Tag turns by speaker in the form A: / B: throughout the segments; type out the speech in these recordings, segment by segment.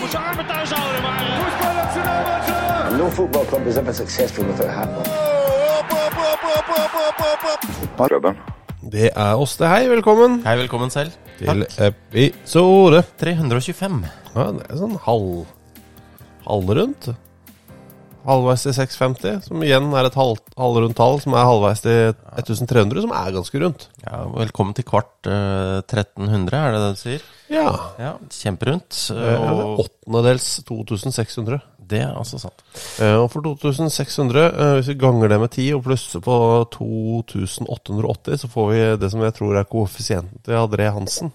A: moet zijn armen thuis houden, maar... eh,
B: No football club is ever successful without Hartnell.
C: Det er oss, det. Hei, velkommen
D: Hei, velkommen selv.
C: til episode
D: 325.
C: ja, Det er sånn halv halvrundt. Halvveis til 650, som igjen er et halv, halvrundt tall, som er halvveis til 1300, som er ganske rundt.
D: Ja, velkommen til kvart eh, 1300, er det det du sier?
C: Ja.
D: Ja, kjemperundt. eh,
C: det er
D: og
C: Åttendedels 2600.
D: det er altså sant.
C: Eh, Og for 2600, eh, hvis vi ganger det med 10 og plusser på 2880, så får vi det som jeg tror er koeffisienten til André Hansen.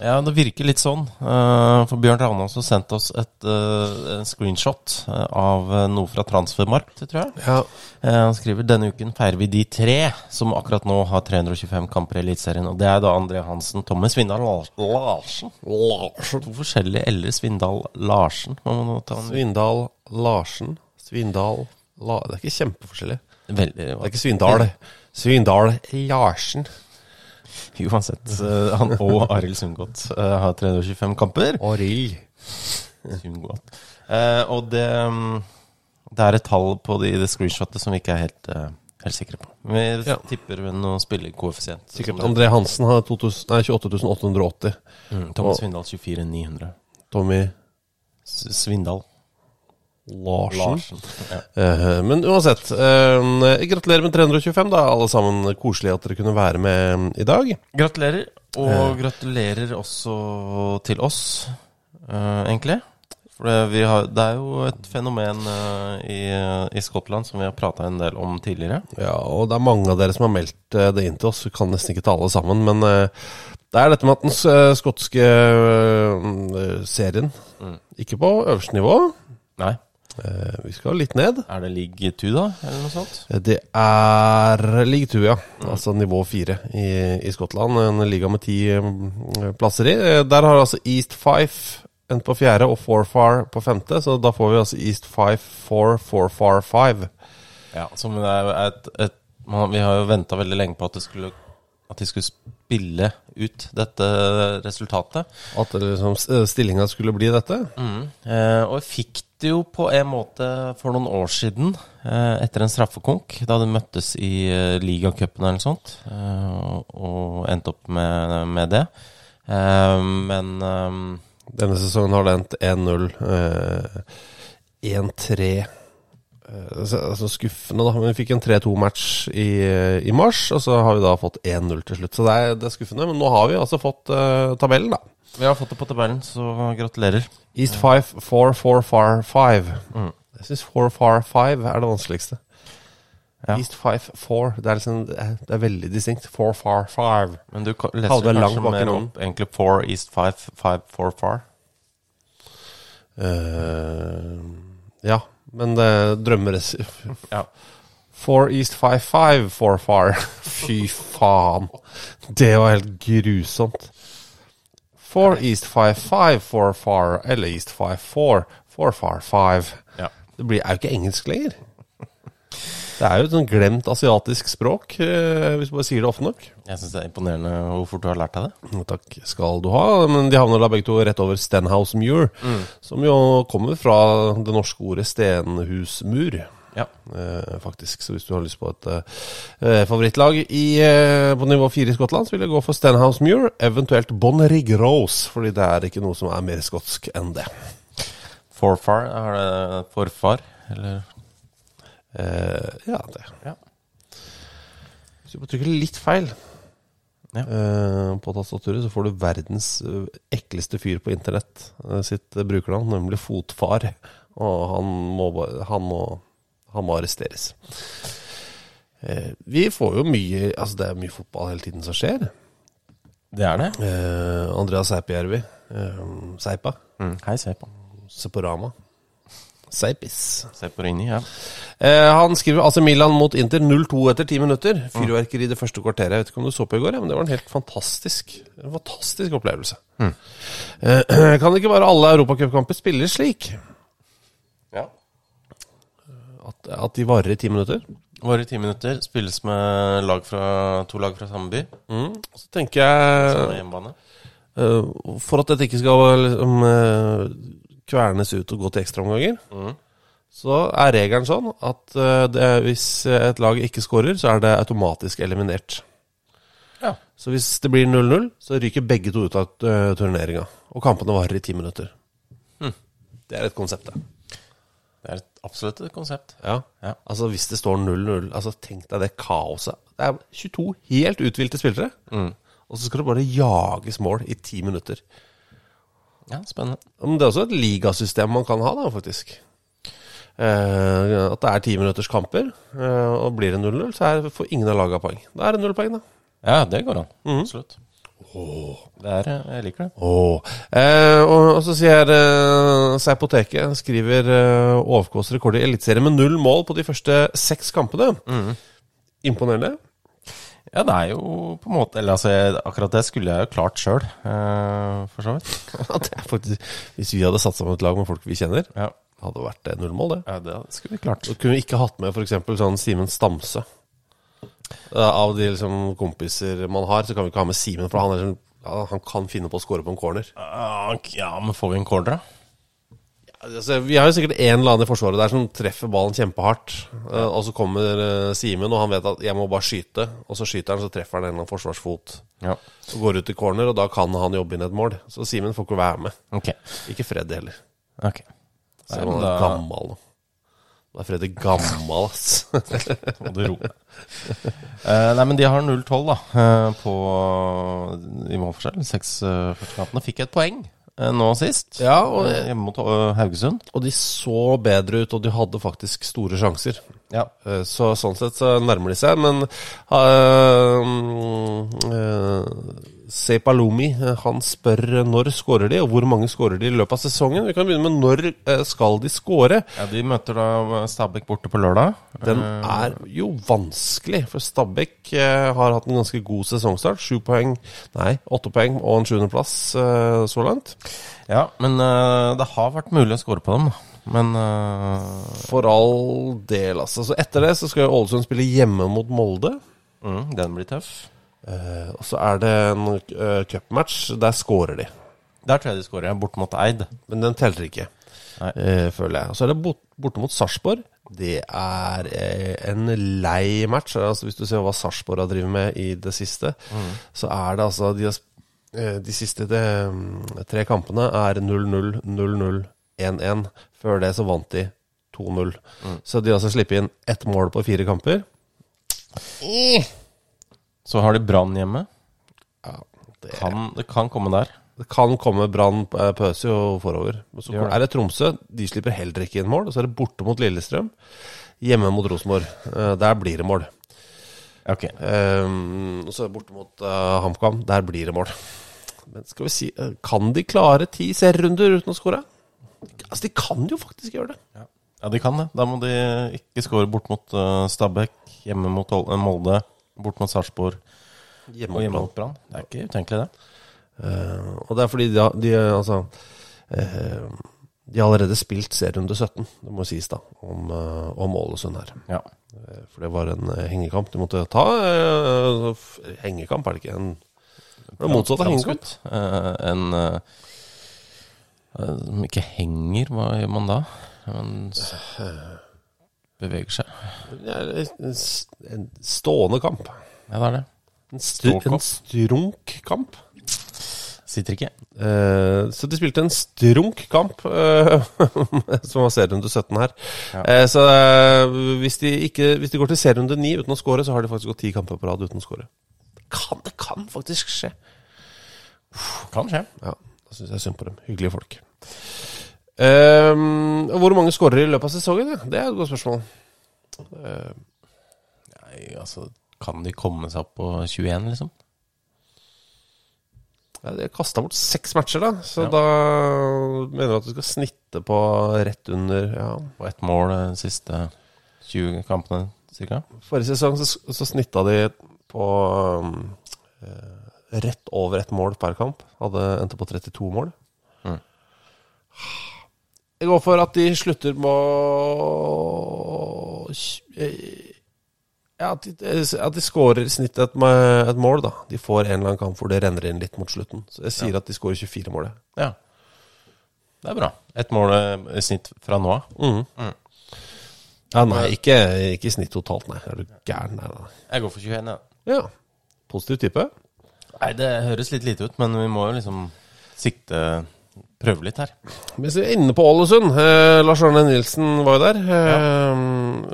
D: Ja, det virker litt sånn. eh, For Bjørn Ranås har sendt oss et eh, en screenshot eh, av eh, noe fra Transfermarkt, tror jeg.
C: Ja.
D: Eh, Han skriver denne uken feirer vi de tre som akkurat nå har 325 kamper i Eliteserien. Og det er da André Hansen, Tommy Svindal Lars- Larsen. Larsen. To forskjellige eller Svindal Larsen. Man må nå ta en
C: Svindal Larsen. Svindal La... Det er ikke kjempeforskjellig.
D: veldig
C: Det er ikke Svindal. Svindal Larsen.
D: Uansett, eh, han og Arild Sundgodt eh, har 325 kamper.
C: Arild.
D: Sundgodt. Eh, og det, mm, det er et tall på det, i det screenshotet som vi ikke er helt, eh, helt sikre på. Vi
C: Ja.
D: tipper ved noen spillerkoeffisient.
C: Sikkert
D: Som det-
C: André Hansen har 2000 nei, 28880.
D: Mm, Thomas Svindal 24900.
C: Tommy
D: S- Svindal
C: Larsen.
D: Larsen. Ja.
C: Eh, men uansett, eh, gratulerer med 325, da, alle sammen. Koselig at dere kunne være med eh, i dag.
D: Gratulerer, og gratulerer også til oss, eh, egentlig. For det, vi har, det er jo et fenomen eh, i, i Skottland som vi har prata en del om tidligere.
C: Ja, og det er mange av dere som har meldt eh, det inn til oss. Vi kan nesten ikke ta alle sammen, men eh, det er dette med at den eh, skotske eh, serien Ikke på øverste nivå.
D: Nei,
C: Eh, vi skal litt ned.
D: Er det League 2, da? Eller noe sånt?
C: Det er league 2, ja. Altså nivå 4 i, i Skottland. En liga med ti eh, plasser i. Eh, Der har altså East Fife endt på fjerde og Forfar på femte, så da får vi altså East Fife for Forfar 5.
D: Ja, som det er et, et man, Vi har jo venta veldig lenge på at, det skulle, at de skulle spille ut dette resultatet.
C: At det liksom stillinga skulle bli dette.
D: Eh, og fikk det jo på en måte for noen år siden, eh, etter en straffekonk, da de møttes i eh, ligacupen eller noe sånt, eh, og- og endte opp med, med det. Eh, men eh,
C: Denne sesongen har det endt 1-0, eh, 1-3 eh, så- Altså skuffende, da. Men vi fikk en 3-2-match i, i mars, og så har vi da fått 1-0 til slutt. Så det er, det er skuffende, men nå har vi altså fått eh, tabellen, da.
D: vi har fått det på tabellen, så gratulerer.
C: East 5, 4, 4, 4, 5. Jeg syns 4, 4, 5 er det vanskeligste.
D: Ja.
C: East 5, 4. Det er, liksom, det er, det er veldig distinkt. 4, 4, 5.
D: Men du ka-
C: Halvor
D: leser
C: Lang
D: kanskje
C: bak i
D: mer
C: noen.
D: opp egentlig 4 East 5, 5 4 far.
C: Eh, ja, men det drømmer
D: Ja.
C: 4 East 5, 5, 4, 4. Fy faen. Det var helt grusomt. 4 East 5, 5, 4, 4. Eller East 5, 4, 4, 4, 5.
D: Ja.
C: Det blir, er jo ikke engelsk lenger. Det er jo et sånn glemt asiatisk språk, eh, hvis du bare sier det ofte nok.
D: Jeg syns det er imponerende hvor fort du har lært deg det.
C: Jo, Mm, Takk skal du ha. Men de havner da begge to rett over Stenhouse Muir, som jo kommer fra det norske ordet stenhusmur.
D: Ja.
C: Eh, faktisk, så hvis du har lyst på et eh, favorittlag i, eh, på nivå fire i Skottland, så vil jeg gå for Stenhouse Muir, eventuelt Bonrig Rose, fordi det er ikke noe som er mer skotsk enn det.
D: Forfar, er det forfar? Eller
C: Eh, ja, det.
D: Ja.
C: Hvis du bare trykker litt feil
D: Ja.
C: eh, på tastaturet, så får du verdens eh, ekleste fyr på internett eh, sitt eh, brukernavn, nemlig Fotfar. Og han må, ba- han må, han må arresteres. Eh, vi får jo mye Altså, det er mye fotball hele tiden som skjer.
D: Det er det.
C: Eh, Andreas Seipjärvi. Eh, Seipa.
D: Hei, se på.
C: Seporama. Seipis.
D: Se på Rini, ja.
C: Eh, han skriver AC Milan mot Inter 0-2 etter ti minutter. Fyrverkeri det første kvarteret. Jeg vet ikke om du så på i går, ja, men det var en helt fantastisk en fantastisk opplevelse. Eh, kan ikke bare alle europacupkamper spilles slik?
D: ja.
C: At, at de varer i ti minutter?
D: Våre ti minutter spilles med lag fra, to lag fra samme by.
C: Så tenker
D: Samme
C: jeg
D: hjemmebane.
C: eh, For at dette ikke skal liksom, eh, kvernes ut og gå til ekstraomganger, så er regelen sånn at eh, det, hvis et lag ikke scorer, så er det automatisk eliminert.
D: Ja.
C: Så hvis det blir 0-0, så ryker begge to ut av uh, turneringa. Og kampene varer i ti minutter. Hm. Det er et konsept, det.
D: Det er et absolutt et konsept.
C: Ja.
D: Ja.
C: Altså, hvis det står 0-0 altså, Tenk deg det kaoset. Det er 22 helt uthvilte spillere, og så skal det bare jages mål i ti minutter.
D: Ja, spennende.
C: Men det er også et ligasystem man kan ha, da, faktisk. Eh, at det er ti minutters kamper, eh, og blir det 0-0, så er, får ingen av laga poeng. Da er det null poeng, da.
D: Ja, det går an. Absolutt. Det er, jeg liker det.
C: Åh. Eh, og, og så sier eh, Seipoteket skriver eh, OFKs rekord i Eliteserien med null mål på de første seks kampene.
D: Mm.
C: Imponerende.
D: Ja, det er jo på en måte Eller altså, jeg, akkurat det skulle jeg jo klart sjøl, eh, for så vidt.
C: Ja, det er faktisk, hvis vi hadde satt sammen et lag med folk vi kjenner,
D: Ja.
C: hadde det vært eh, null mål, det.
D: ja, det skulle vi klart.
C: Så kunne vi ikke hatt med f.eks. sånn Simen Stamse. Eh, av de liksom, kompiser man har, så kan vi ikke ha med Simen, for han, er, sånn- ja, han kan finne på å score på en corner.
D: Ah, ok, Ja, men får vi en corner, da?
C: Altså, vi har jo sikkert en eller annen i forsvaret der som treffer ballen kjempehardt. eh, og så kommer eh, Simen, og han vet at 'jeg må bare skyte'. Og så skyter han, så treffer han en eller annen forsvarsfot.
D: Ja.
C: Så går ut i corner, og da kan han jobbe inn et mål. Så Simen får ikke være med.
D: Ok.
C: Ikke Freddy heller.
D: ok
C: Så
D: Nei,
C: han
D: men
C: er
D: da-
C: gammal. Da er Freddy gammal, ass.
D: Må du roe deg. Eh, nei, men de har 0-12 da eh, på, i målforskjell. Seks uh, førstekampene. Fikk et poeng eh, nå sist,
C: Ja, og-
D: eh, hjemme mot eh, Haugesund.
C: og de så bedre ut, og de hadde faktisk store sjanser.
D: Ja.
C: Eh, Så sånn sett så nærmer de seg, men eh, eh, Sepalomi eh, han spør eh, når skårer de, og hvor mange skårer de i løpet av sesongen. Vi kan begynne med når eh, skal de skåre.
D: De møter da eh, Stabæk borte på lørdag.
C: Den er jo vanskelig, for Stabæk eh, har hatt en ganske god sesongstart. Sju poeng, nei, åtte poeng og en sjuendeplass eh, så langt.
D: Ja, men eh, det har vært mulig å score på dem. da. Men eh,
C: For all del, altså. Så etter det så skal jo Ålesund spille hjemme mot Molde.
D: mm, den blir tøff.
C: Eh, Og så er det en eh, cupmatch. Der scorer de.
D: Der tror jeg de skårer, borte mot Eid.
C: Men den teller ikke,
D: Nei.
C: eh, føler jeg. Og så er det bort, borte mot Sarpsborg. Det er eh, en lei match. Altså, hvis du ser hva Sarpsborg har drevet med i det siste, så er det altså De, har sp- eh, de siste eh, tre kampene er 0-0, 0-0, 1-1. Før det så vant de 2-0. Så de har altså sluppet inn ett mål på fire kamper.
D: Så har de Brann hjemme.
C: Ja, det,
D: Kan, det kan komme der.
C: det kan komme Brann eh, pøser jo forover. Men Så
D: Gjør det.
C: er det Tromsø. De slipper heller ikke inn mål. Og så er det borte mot Lillestrøm. Hjemme mot Rosenborg. Eh, Der blir det mål.
D: Ok.
C: Ehm, Og så er det borte mot eh, HamKam. Der blir det mål. Men skal vi si eh, Kan de klare ti serierunder uten å skåre? Altså, de kan jo faktisk gjøre det.
D: Ja. ja, de kan det. Da må de ikke skåre bort mot eh, Stabæk, hjemme mot Ol- eh, Molde, bort mot Sarpsborg og hjemme mot Brann. Det er ikke utenkelig, det.
C: Eh, og det er fordi de, har- de eh, altså eh, De har allerede spilt serierunde 17, det må sies, da, om, eh, om Ålesund her.
D: Ja.
C: Eh, For det var en eh, hengekamp de måtte ta. eh, f- Hengekamp er det ikke? En, det var motsatt av hengekamp.
D: Framskutt. Eh, en eh, eh, som ikke henger, hva gjør man da? Man s- beveger seg.
C: Ja, en s- En stående kamp.
D: Ja, det er det.
C: En, stru,
D: Ståkamp.
C: en strunkkamp.
D: sitter ikke.
C: Eh, så de spilte en strunk kamp, eh, som var serierunde 17 her.
D: Ja.
C: Eh, så eh, hvis, de ikke, hvis de går til serierunde 9 uten å score, så har de faktisk gått ti kamper på rad uten å score. Kan, det kan faktisk skje.
D: Kan skje.
C: Ja, da syns jeg synd på dem. Hyggelige folk. Eh, hvor mange skårer i løpet av sesongen? Ja? Det er et godt spørsmål. Eh,
D: Nei, altså, kan de komme seg opp på 21, liksom?
C: ja, de har kasta bort seks matcher, da. Så
D: Ja.
C: da mener du at du skal snitte på rett under ja,
D: Og ett mål de siste 20 kampene, cirka.
C: Forrige sesong så, så snitta de på um, eh, rett over ett mål per kamp. Hadde endte på 32 mål.
D: Mm.
C: Jeg går for at de slutter med å eh, ja, at, de, eh, at de scorer i snitt et, med et mål, da. De får en eller annen kamp hvor det renner inn litt mot slutten. Så jeg sier at de scorer 24 mål. jeg.
D: Ja. Det er bra. Ett mål eh, i snitt fra nå av.
C: Ja, nei, ikke, ikke i snitt totalt, nei. Er du gæren? Nei, nei.
D: Jeg går for 21, ja.
C: Ja. Positiv type.
D: Nei, det høres litt lite ut, men vi må jo liksom sikte Prøve litt her.
C: Mens vi er inne på Ålesund eh, Lars Arne Nilsen var jo der. Eh,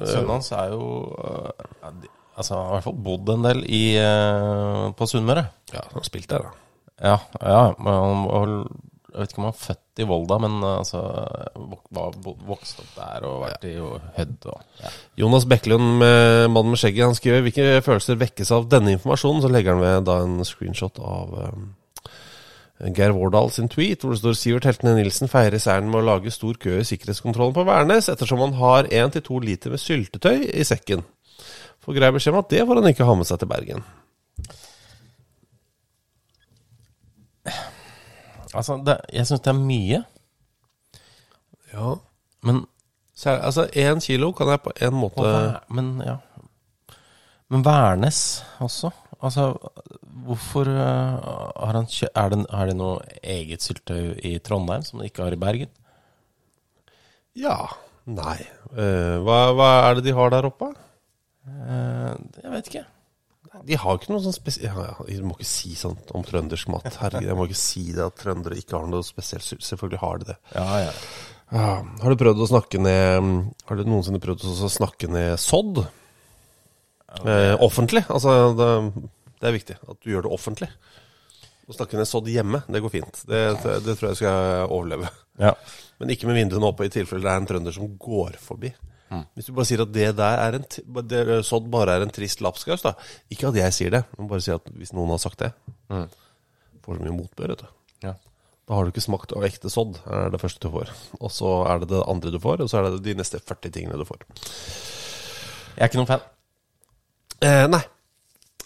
D: Sønnen hans er jo eh, ja, de- Altså, har i hvert fall bodd en del i, eh, på Sunnmøre.
C: ja, han spilte der, da.
D: Ja, ja men han var, jeg vet ikke om han var født i Volda, men eh, altså, vok- var bo- vokst opp der og vært i jo Hødd og ja.
C: Jonas Bekkelund, med mannen med skjegget, han skriver hvilke følelser vekkes av denne informasjonen. Så legger han ved da en screenshot av eh, Geir Vårdal sin tweet, hvor det står Sivert Heltene Nilsen feirer seieren med å lage stor kø i sikkerhetskontrollen på Værnes, ettersom han har én til to liter med syltetøy i sekken. Får grei beskjed om at det får han ikke ha med seg til Bergen.
D: Altså, det, jeg syns det er mye,
C: Ja,
D: men,
C: så er, Altså, én kilo kan jeg på en
D: og
C: måte
D: Vær- eh, men ja. Men Værnes også? Altså, hvorfor eh, har han kjø... Er det, er det noe eget syltetøy i Trondheim som de ikke har i Bergen?
C: Ja. Nei. Eh, hva, hva er det de har der oppe?
D: Eh, jeg vet ikke.
C: De har ikke noe sånn spesielt ja, ja, Jeg må ikke si sånt om trøndersk mat. Herregud, jeg må ikke si det at trøndere ikke har noe spesielt. Sel- Selvfølgelig har de det.
D: Ja, ja.
C: Ja. Har du prøvd å snakke ned Har du noensinne prøvd å snakke ned sodd? Eh, offentlig. Altså, det, det er viktig at du gjør det offentlig. Å snakke ned sodd hjemme, det går fint. Det, det, det tror jeg skal overleve.
D: ja.
C: Men ikke med vinduene oppe, i tilfelle det er en trønder som går forbi.
D: Mm.
C: Hvis du bare sier at det der er en t- det, sånn bare er en trist lapskaus, da. Ikke at jeg sier det, men bare si at hvis noen har sagt det
D: Mm.
C: Får så mye motbør, vet du.
D: ja.
C: Da har du ikke smakt av ekte sodd, er det første du får. Og så er det det andre du får, og så er det de neste 40 tingene du får.
D: Jeg er ikke noen fan.
C: Eh, nei.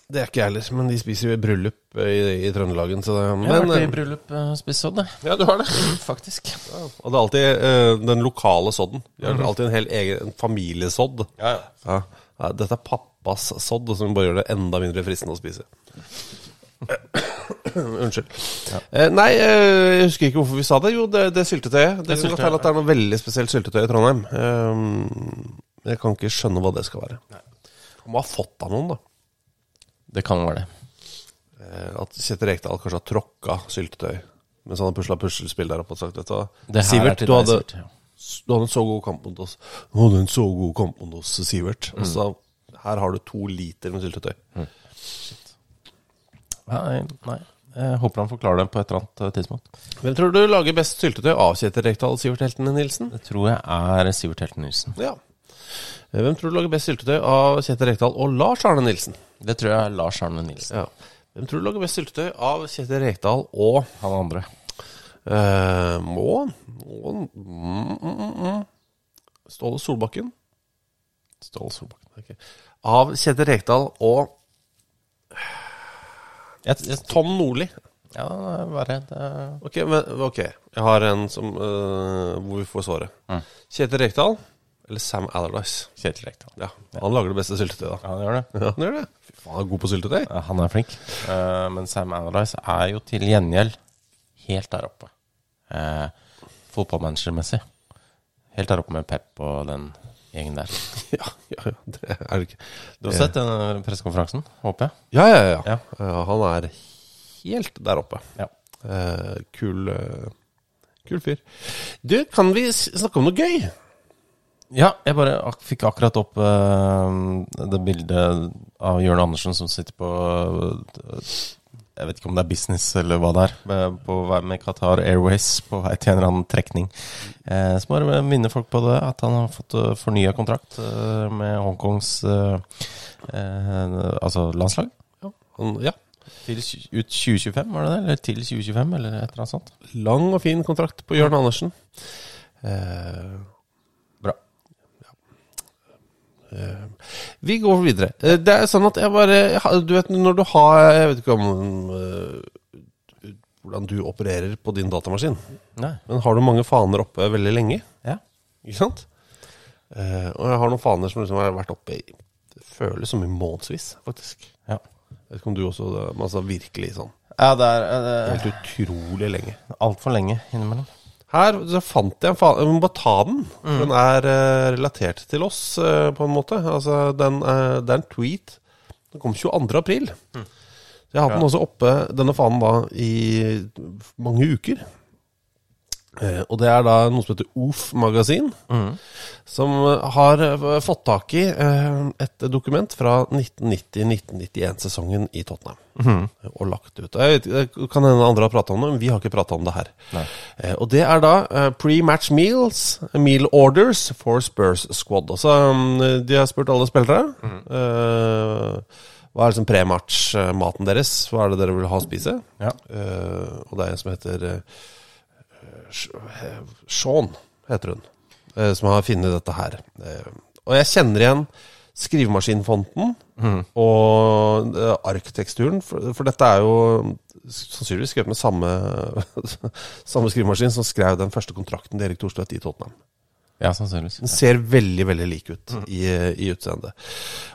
C: Det er ikke jeg heller, men de spiser jo i bryllup eh, i, i Trøndelagen, så det
D: Jeg har
C: men,
D: vært i
C: eh,
D: bryllup uh, spist sodd, jeg.
C: Ja, du har det.
D: Faktisk.
C: Og det er alltid eh, den lokale sodden. De har alltid en hel egen en familiesodd.
D: Ja, ja.
C: Ja. Nei, Dette er pappas sodd, som bare gjør det enda mindre fristende å spise. Unnskyld. Eh, nei, eh, jeg husker ikke hvorfor vi sa det. Jo, det, det er syltetøyet. Det,
D: Det er
C: kan godt
D: syltetøy,
C: være at det er noe veldig spesielt syltetøy i Trondheim. Eh, jeg kan ikke skjønne hva det skal være. Han må ha fått det av noen, da.
D: Det kan være det.
C: Eh, At Kjetil Rekdal kanskje har tråkka syltetøy mens han har pusla puslespill der oppe og sagt vet du hva?
D: Det her er
C: Sivert,
D: til
C: du
D: deg,
C: hadde,
D: Sivert, ja.
C: du hadde en så god kamp mot oss. Du hadde en så god kamp mot oss, Sivert.
D: Mm.
C: Og så her har du to liter med syltetøy.
D: Nei, nei. Jeg håper han forklarer det på et eller annet eh, tidspunkt.
C: Hvem tror du lager best syltetøy av Kjetil Rekdal og Sivert Heltene Nilsen?
D: Det tror jeg er Sivert Helten Nilsen.
C: Ja. Eh, Hvem tror du lager best syltetøy av Kjetil Rekdal og Lars Arne Nilsen?
D: Det tror jeg er Lars Arne Nilsen.
C: Ja. Hvem tror du lager best syltetøy av Kjetil Rekdal og
D: Han andre.
C: eh, Må må- mm, mm, mm. Ståle Solbakken?
D: Ståle Solbakken.
C: Ok. Av Kjetil Rekdal og
D: Jeg, jeg,
C: Tom Nordli.
D: ja, det er verre. Det er-
C: Ok, men, ok, jeg har en som, eh, hvor vi får svaret. Kjetil Rekdal eller Sam Allardyce?
D: Kjetil Rekdal.
C: Ja, han lager det beste syltetøyet, da.
D: Ja, han gjør det.
C: Ja, han gjør det. Fy faen, han er god på syltetøy.
D: Eh, Han er flink. Eh, men Sam Analyze er jo til gjengjeld helt der oppe. Uh, Fotballmanagermessig. Helt der oppe med Pep og den gjengen der.
C: Ja, ja, ja, det er det ikke.
D: Du har sett den pressekonferansen, håper jeg?
C: Ja, ja, ja.
D: Ja.
C: ja. han er helt der oppe.
D: Ja.
C: Eh, kul, eh, kul fyr. Du, kan vi s- snakke om noe gøy?
D: Ja, jeg bare ak fikk akkurat opp eh, det bildet av Jørn Andersen som sitter på eh, Jeg vet ikke om det er business eller hva det er, eh, på vei med Qatar Airways på vei til en eller annen trekning. Eh, så bare minne folk på det, at han har fått uh, fornya kontrakt eh, med Hongkongs eh, eh, altså landslag.
C: Han- Ja.
D: Til tj- ut 2025, var det det? Eller til 2025, eller et eller annet sånt.
C: Lang og fin kontrakt på Jørn Andersen. Eh,
D: Bra.
C: Eh, Vi går videre. Eh, Det er sånn at jeg bare jeg har- Du vet når du har Jeg vet ikke om eh, hvordan du opererer på din datamaskin,
D: Nei.
C: men har du mange faner oppe veldig lenge?
D: Ja.
C: Ikke sant? Eh, og jeg har noen faner som liksom har vært oppe i Det føles som i månedsvis, faktisk.
D: Ja.
C: Jeg vet ikke om du også det, men altså virkelig sånn.
D: ja, det er eh,
C: Helt utrolig lenge.
D: altfor lenge innimellom.
C: Her så fant jeg en faen Jeg må bare ta den. for Den er eh, relatert til oss, eh, på en måte. Altså, den, eh, det er en tweet. Den kom 22. april. Så jeg har hatt den også oppe, denne fanen, da, i mange uker. Eh, og det er da noe som heter OF Magasin, som eh, har eh, fått tak i eh, et dokument fra 1990-1991-sesongen i Tottenham. Og lagt ut. Jeg vet, det kan hende andre har prata om det, men vi har ikke prata om det her. Eh, og det er da eh, pre-match meals, meal orders for Spurs squad. Altså, mm, de har spurt alle spillere. eh, hva er liksom pre-match-maten deres? Hva er det dere vil ha å spise?
D: Ja.
C: Eh, og det er en som heter eh, Sean eh, heter hun, eh, som har funnet dette her. Eh, og jeg kjenner igjen skrivemaskinfonten og eh, arkteksturen, for, for dette er jo sannsynligvis skrevet med samme, samme skrivemaskin som skrev den første kontrakten til Erik Thorstvedt i Tottenham.
D: Ja, sannsynligvis.
C: Den ser veldig veldig lik ut i, i utseendet.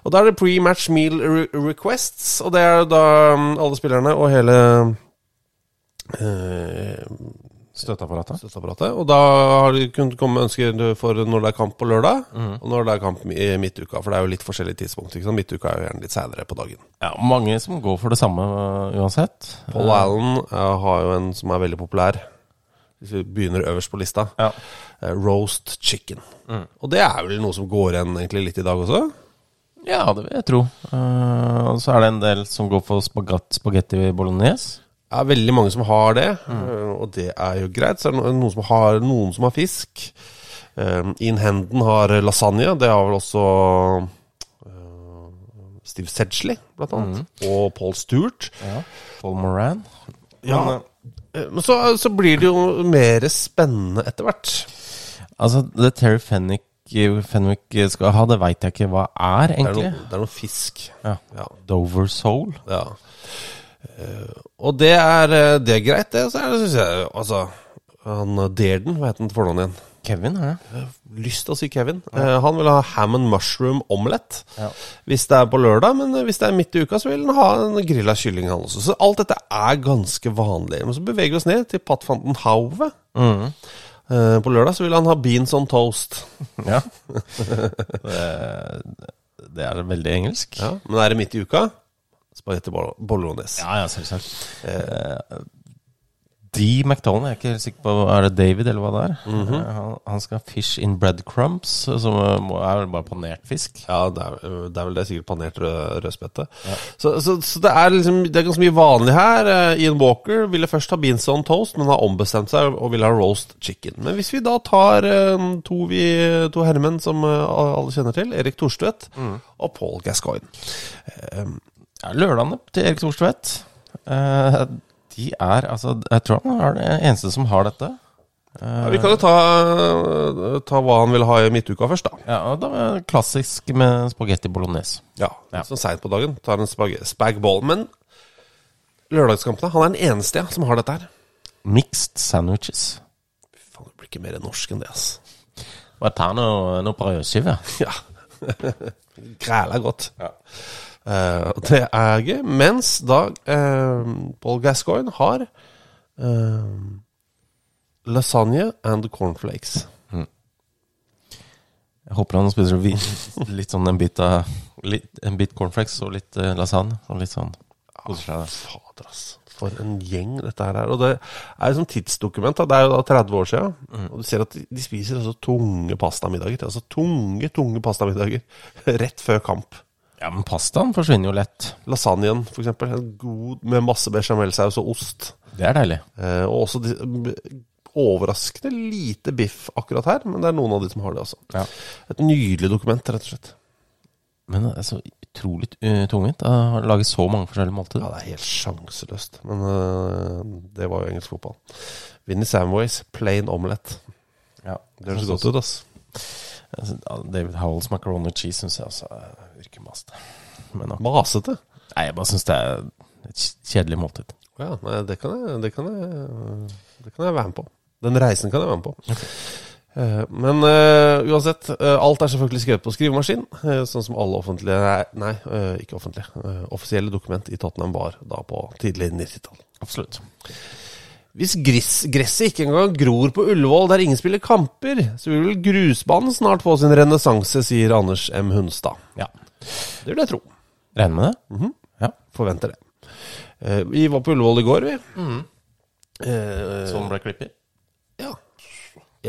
C: Og da er det pre-match meal re requests, og det er da mm, alle spillerne og hele eh,
D: Støtteapparatet?
C: støtteapparatet. Og da har det kunnet komme ønsker for når det er kamp på lørdag,
D: Mhm.
C: og når det er kamp i midtuka. For det er jo litt forskjellige tidspunkt. Ikke sant? Midtuka er jo gjerne litt seinere på dagen.
D: Ja, mange som går for det samme øh, uansett.
C: Paul Allen eh, har jo en som er veldig populær. Hvis vi begynner øverst på lista.
D: Ja. Mm.
C: Eh, roast chicken. Og det er vel noe som går igjen egentlig litt i dag også?
D: Ja, det vil jeg tro. Eh, og så er det en del som går for spagat, spagetti bolognese.
C: Det er veldig mange som har det, øh, og det er jo greit. Så er det no- noen som har, noen som har fisk. Um, In Henden har lasagne. Det har vel også øh, Steve Sedgley, blant annet. Og Paul Stewart.
D: Paul Moran.
C: Men, øh, Men så, så blir det jo mer spennende etter hvert.
D: Altså, det Terry Fenwick, Fenwick skal ha, det veit jeg ikke hva er,
C: Det er
D: egentlig.
C: noe, det er noe fisk.
D: Ja.
C: Ja.
D: Dover Soul.
C: Ja. Eh, og det er, eh, det er greit, det. Så er det, synes jeg. Altså, han eh, Dearden, hva heter han til fornavn igjen?
D: Kevin, er det?
C: lyst til å si Kevin. Eh, han vil ha ham and mushroom omelett
D: Ja.
C: hvis det er på lørdag, men eh, hvis det er midt i uka, så vil han ha en grilla kylling, han også. Så alt dette er ganske vanlig. Men så beveger vi oss ned til Pat van den Hauve. Eh, på lørdag så vil han ha beans on toast.
D: Ja. det, det er veldig engelsk.
C: Ja, men er det midt i uka? Spagetti bol- bolognese.
D: Ja, ja, selvsagt. Eh, D. McDonald, jeg er ikke helt sikker på Er det David, eller hva det er? Eh, han, han skal ha fish in breadcrumbs, som eh, må, er vel bare panert fisk.
C: Ja, det er, det er vel det. Sikkert panert rød, rødspette. Så, så, så det er liksom Det er ganske mye vanlig her. Eh, Ian Walker ville først ha beans on toast, men har ombestemt seg og vil ha roast chicken. Men hvis vi da tar eh, to, vi, to herremenn som eh, alle kjenner til, Erik Thorstvedt og Paul Gascoigne
D: Ja, lørdagene til Erik Thorstvedt eh, De er altså Jeg tror han er den eneste som har dette.
C: ja, Vi kan jo ta, eh, ta hva han vil ha i midtuka først, da.
D: Ja, og da er det Klassisk med spagetti bolognese.
C: Ja,
D: Ja.
C: Så seint på dagen. Tar en spag, spagball. Men lørdagskampene Han er den eneste ja, som har dette her.
D: Mixed sandwiches.
C: Faen, det blir ikke mer norsk enn det, ass.
D: Bare ta noe, noe brødskive.
C: Ja. Græla godt. Eh, og det er gøy. Mens da eh, Paul Gascoigne har eh, lasagne and cornflakes.
D: Jeg håper han spiser vi- litt sånn en bit, sånn. av, litt, en bit cornflakes og litt eh, lasagne. Og litt sånn Koser seg der.
C: Fader, ass. For en gjeng dette her er. Og det er jo sånn tidsdokument. Da. Det er jo da 30 år siden. Og du ser at de- de spiser altså tunge pastamiddager. Altså tunge, tunge pastamiddager rett før kamp.
D: Ja, men pastaen forsvinner jo lett.
C: Lasagnen, for eksempel. En god med masse bechamelsaus og ost.
D: Det er deilig.
C: Eh, og også de, m- overraskende lite biff akkurat her, men det er noen av de som har det også.
D: Ja.
C: Et nydelig dokument, rett og slett.
D: Men det er så utrolig eh, tungvint å lage så mange forskjellige måltider.
C: Ja, det er helt sjanseløst, men eh, det var jo engelsk fotball. Vinnie Samways, plain omelett.
D: Ja,
C: Det høres godt ut, ass.
D: Altså, David Howells macaroni and cheese syns jeg også eh, virker maste. Men ok.
C: Masete.
D: Nei, jeg bare syns det er et kjedelig måltid.
C: Ja, nei, det kan, jeg, det, kan jeg, det kan jeg være med på. Den reisen kan jeg være med på. Eh, Men eh, uansett, eh, alt er selvfølgelig skrevet på skrivemaskin, eh, sånn som alle offentlige Nei, nei eh, ikke offentlige. eh, offisielle dokument i Tottenham var da på tidlig 90-tall.
D: Absolutt.
C: Hvis gris, gresset ikke engang gror på Ullevål der ingen spiller kamper, så vil vel grusbanen snart få sin renessanse, sier Anders M. Hunstad.
D: Ja.
C: Det vil jeg tro.
D: Regner med det? Ja.
C: Forventer det. Eh, Vi var på Ullevål i går, vi. Eh,
D: Sånn ble klippet?
C: Ja.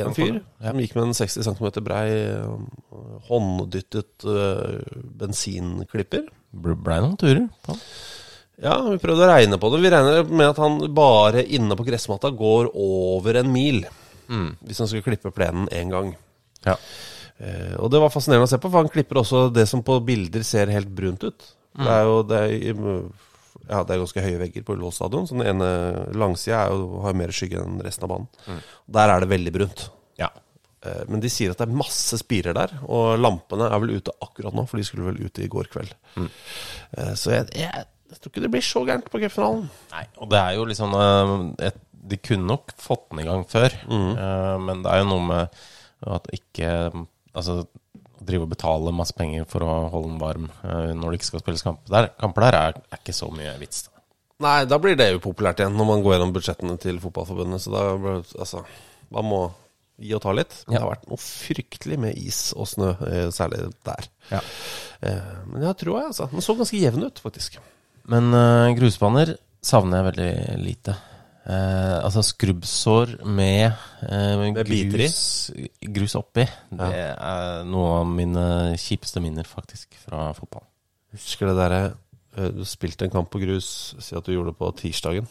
C: En fyr som gikk med en 60 cm brei eh, hånddyttet eh, bensinklipper.
D: Ble, ble noen turer. på.
C: Ja, vi prøvde å regne på det. Vi regner med at han bare inne på gressmatta går over en mil. Hvis han skulle klippe plenen én gang.
D: Ja.
C: Eh, og det var fascinerende å se på, for han klipper også det som på bilder ser helt brunt ut. Det er jo det er, i- ja, det er ganske høye vegger på Ullevål stadion, så den ene langsida er jo- har jo mer skygge enn resten av banen. Der er det veldig brunt.
D: ja.
C: Eh, Men de sier at det er masse spirer der, og lampene er vel ute akkurat nå, for de skulle vel ute i går kveld. Eh, Så jeg, jeg, jeg tror ikke det blir så gærent på cupfinalen.
D: Nei, og det er jo liksom eh, et, De kunne nok fått den i gang før, eh, men det er jo noe med at ikke Altså, å drive og betale masse penger for å holde den varm eh, når det ikke skal spilles kamp der, kamper der, er, er ikke så mye vits. Da.
C: Nei, da blir det upopulært igjen når man går gjennom budsjettene til Fotballforbundet. Så da blir det- altså, man må gi og ta litt. Det
D: Ja.
C: har vært noe fryktelig med is og snø, eh, særlig der.
D: Ja.
C: Eh, Men jeg tror jeg, altså. Den så ganske jevn ut, faktisk.
D: Men eh, grusbaner savner jeg veldig lite. Eh, altså skrubbsår med, eh,
C: Med biter i.
D: grus, grus oppi, det er noe av mine kjipeste minner faktisk fra fotball.
C: Husker det derre eh, Du spilte en kamp på grus, si at du gjorde det på tirsdagen.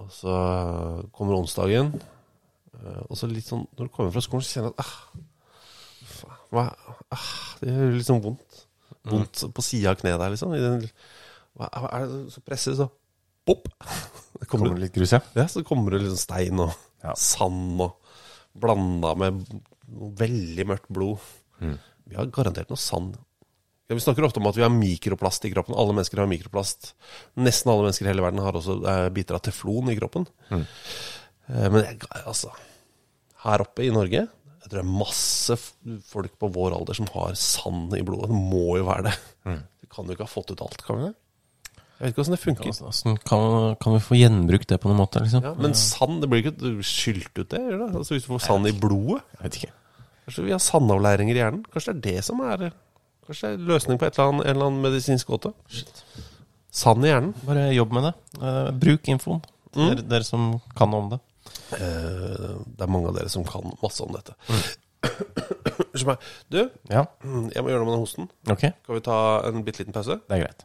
C: Og så kommer onsdagen, eh, og så litt sånn Når du kommer fra skolen, så kjenner du at ah, faen, hva, ah, Det gjør litt sånn vondt. Vondt på sida av kneet der, liksom. I den, hva hva er det så presser, så Bopp! Det kommer,
D: litt grus, ja?
C: ja, så kommer det litt sånn stein og
D: Ja.
C: sand og blanda med noe veldig mørkt blod. Vi har garantert noe sand. Ja, vi snakker ofte om at vi har mikroplast i kroppen. Alle mennesker har mikroplast. Nesten alle mennesker i hele verden har også eh, biter av teflon i kroppen. Eh, men jeg, altså Her oppe i Norge jeg tror det er masse f- folk på vår alder som har sand i blodet. Det må jo være det. Du kan jo ikke ha fått ut alt, kan vi det? Jeg vet ikke åssen det funker.
D: Hvordan altså, kan, kan vi få gjenbrukt det på noen måte, liksom?
C: Ja, men sand, det blir ikke du skylt ut det, gjør det? Altså Hvis du får sand i blodet?
D: Jeg vet ikke.
C: Kanskje vi har sandavleiringer i hjernen? Kanskje det er det som er Kanskje det er løsning på et eller annet, en eller annen medisinsk gåte? Sand i hjernen.
D: Bare jobb med det. Eh, bruk infoen, dere, dere som kan om det.
C: Eh, det er mange av dere som kan masse om dette. Unnskyld meg. Du,
D: Ja,
C: jeg må gjøre noe med den hosten.
D: ok. Det
C: Kan vi ta en bitte liten pause?
D: er greit.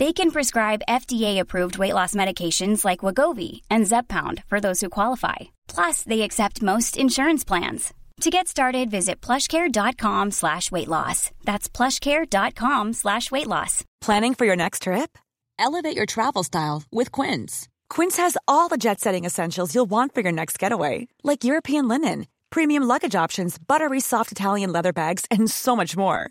E: They can prescribe FDA-approved weight loss medications like Wagovi and Zepbound for those who qualify. Plus, they accept most insurance plans. To get started, visit plushcare.com slash weight loss. That's plushcare.com slash weight loss.
F: Planning for your next trip? Elevate your travel style with Quince. Quince has all the jet setting essentials you'll want for your next getaway, like European linen, premium luggage options, buttery soft Italian leather bags, and so much more.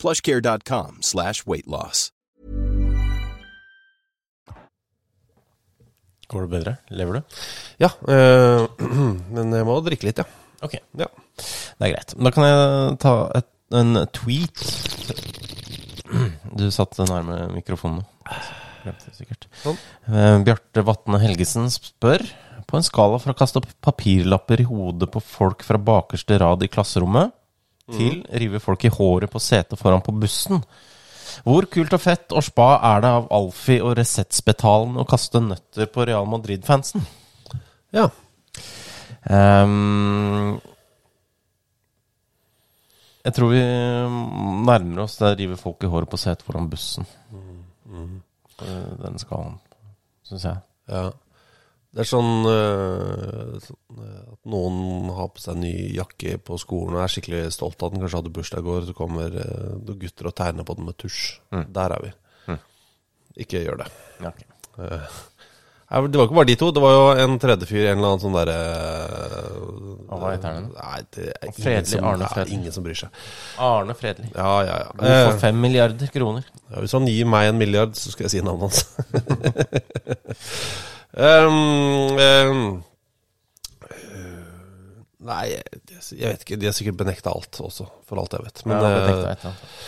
G: plushcare.com slash weight loss.
D: Går det bedre? Lever du?
C: Ja, eh, men jeg må drikke litt, ja.
D: Ok,
C: ja.
D: det er greit. Da kan jeg ta et, en tweet. Du satt nærme mikrofonen nå. Glemte det sikkert.
C: Sånn.
D: Eh, Bjarte Vatne Helgesen spør På en skala fra å kaste opp papirlapper i hodet på folk fra bakerste rad i klasserommet til rive folk i håret på setet foran på bussen. Hvor kult og fett og spa er det av Alfie og Resett-spetalen å kaste nøtter på Real Madrid-fansen?
C: ja.
D: Ehm, jeg tror vi nærmer oss der river folk i håret på setet foran bussen. Eh, Den skalaen, syns jeg.
C: Ja. Det er sånn, eh, sånn eh, at noen har på seg ny jakke på skolen og er skikkelig stolt av den. Kanskje hadde bursdag i går, så kommer eh, noen gutter og tegner på den med tusj.
D: Mm.
C: Der er vi. Ikke gjør det. Eh, nei, Det var ikke bare de to. Det var jo en tredje fyr, en eller annen sånn derre
D: Å, hva heter han?
C: Nei, det er ingen
D: Fredelig
C: som,
D: Arne
C: ja,
D: Fredelig.
C: ingen som bryr seg.
D: Arne Fredli.
C: Ja, ja, ja. Eh,
D: Du får fem milliarder kroner.
C: Ja, hvis han gir meg en milliard, så skal jeg si navnet hans. um, um, øh, nei, jeg, jeg vet ikke. De har sikkert benekta alt også, for alt jeg vet. Men,
D: Ja, jeg tenkte
C: eh,
D: et eller annet.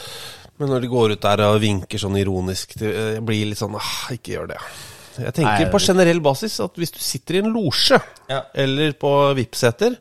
C: men når de går ut der og vinker sånn ironisk til, eh, Jeg blir litt sånn ah, Ikke gjør det. Jeg tenker
D: Nei,
C: på generell basis at hvis du sitter i en losje
D: Ja.
C: eller på VIP-seter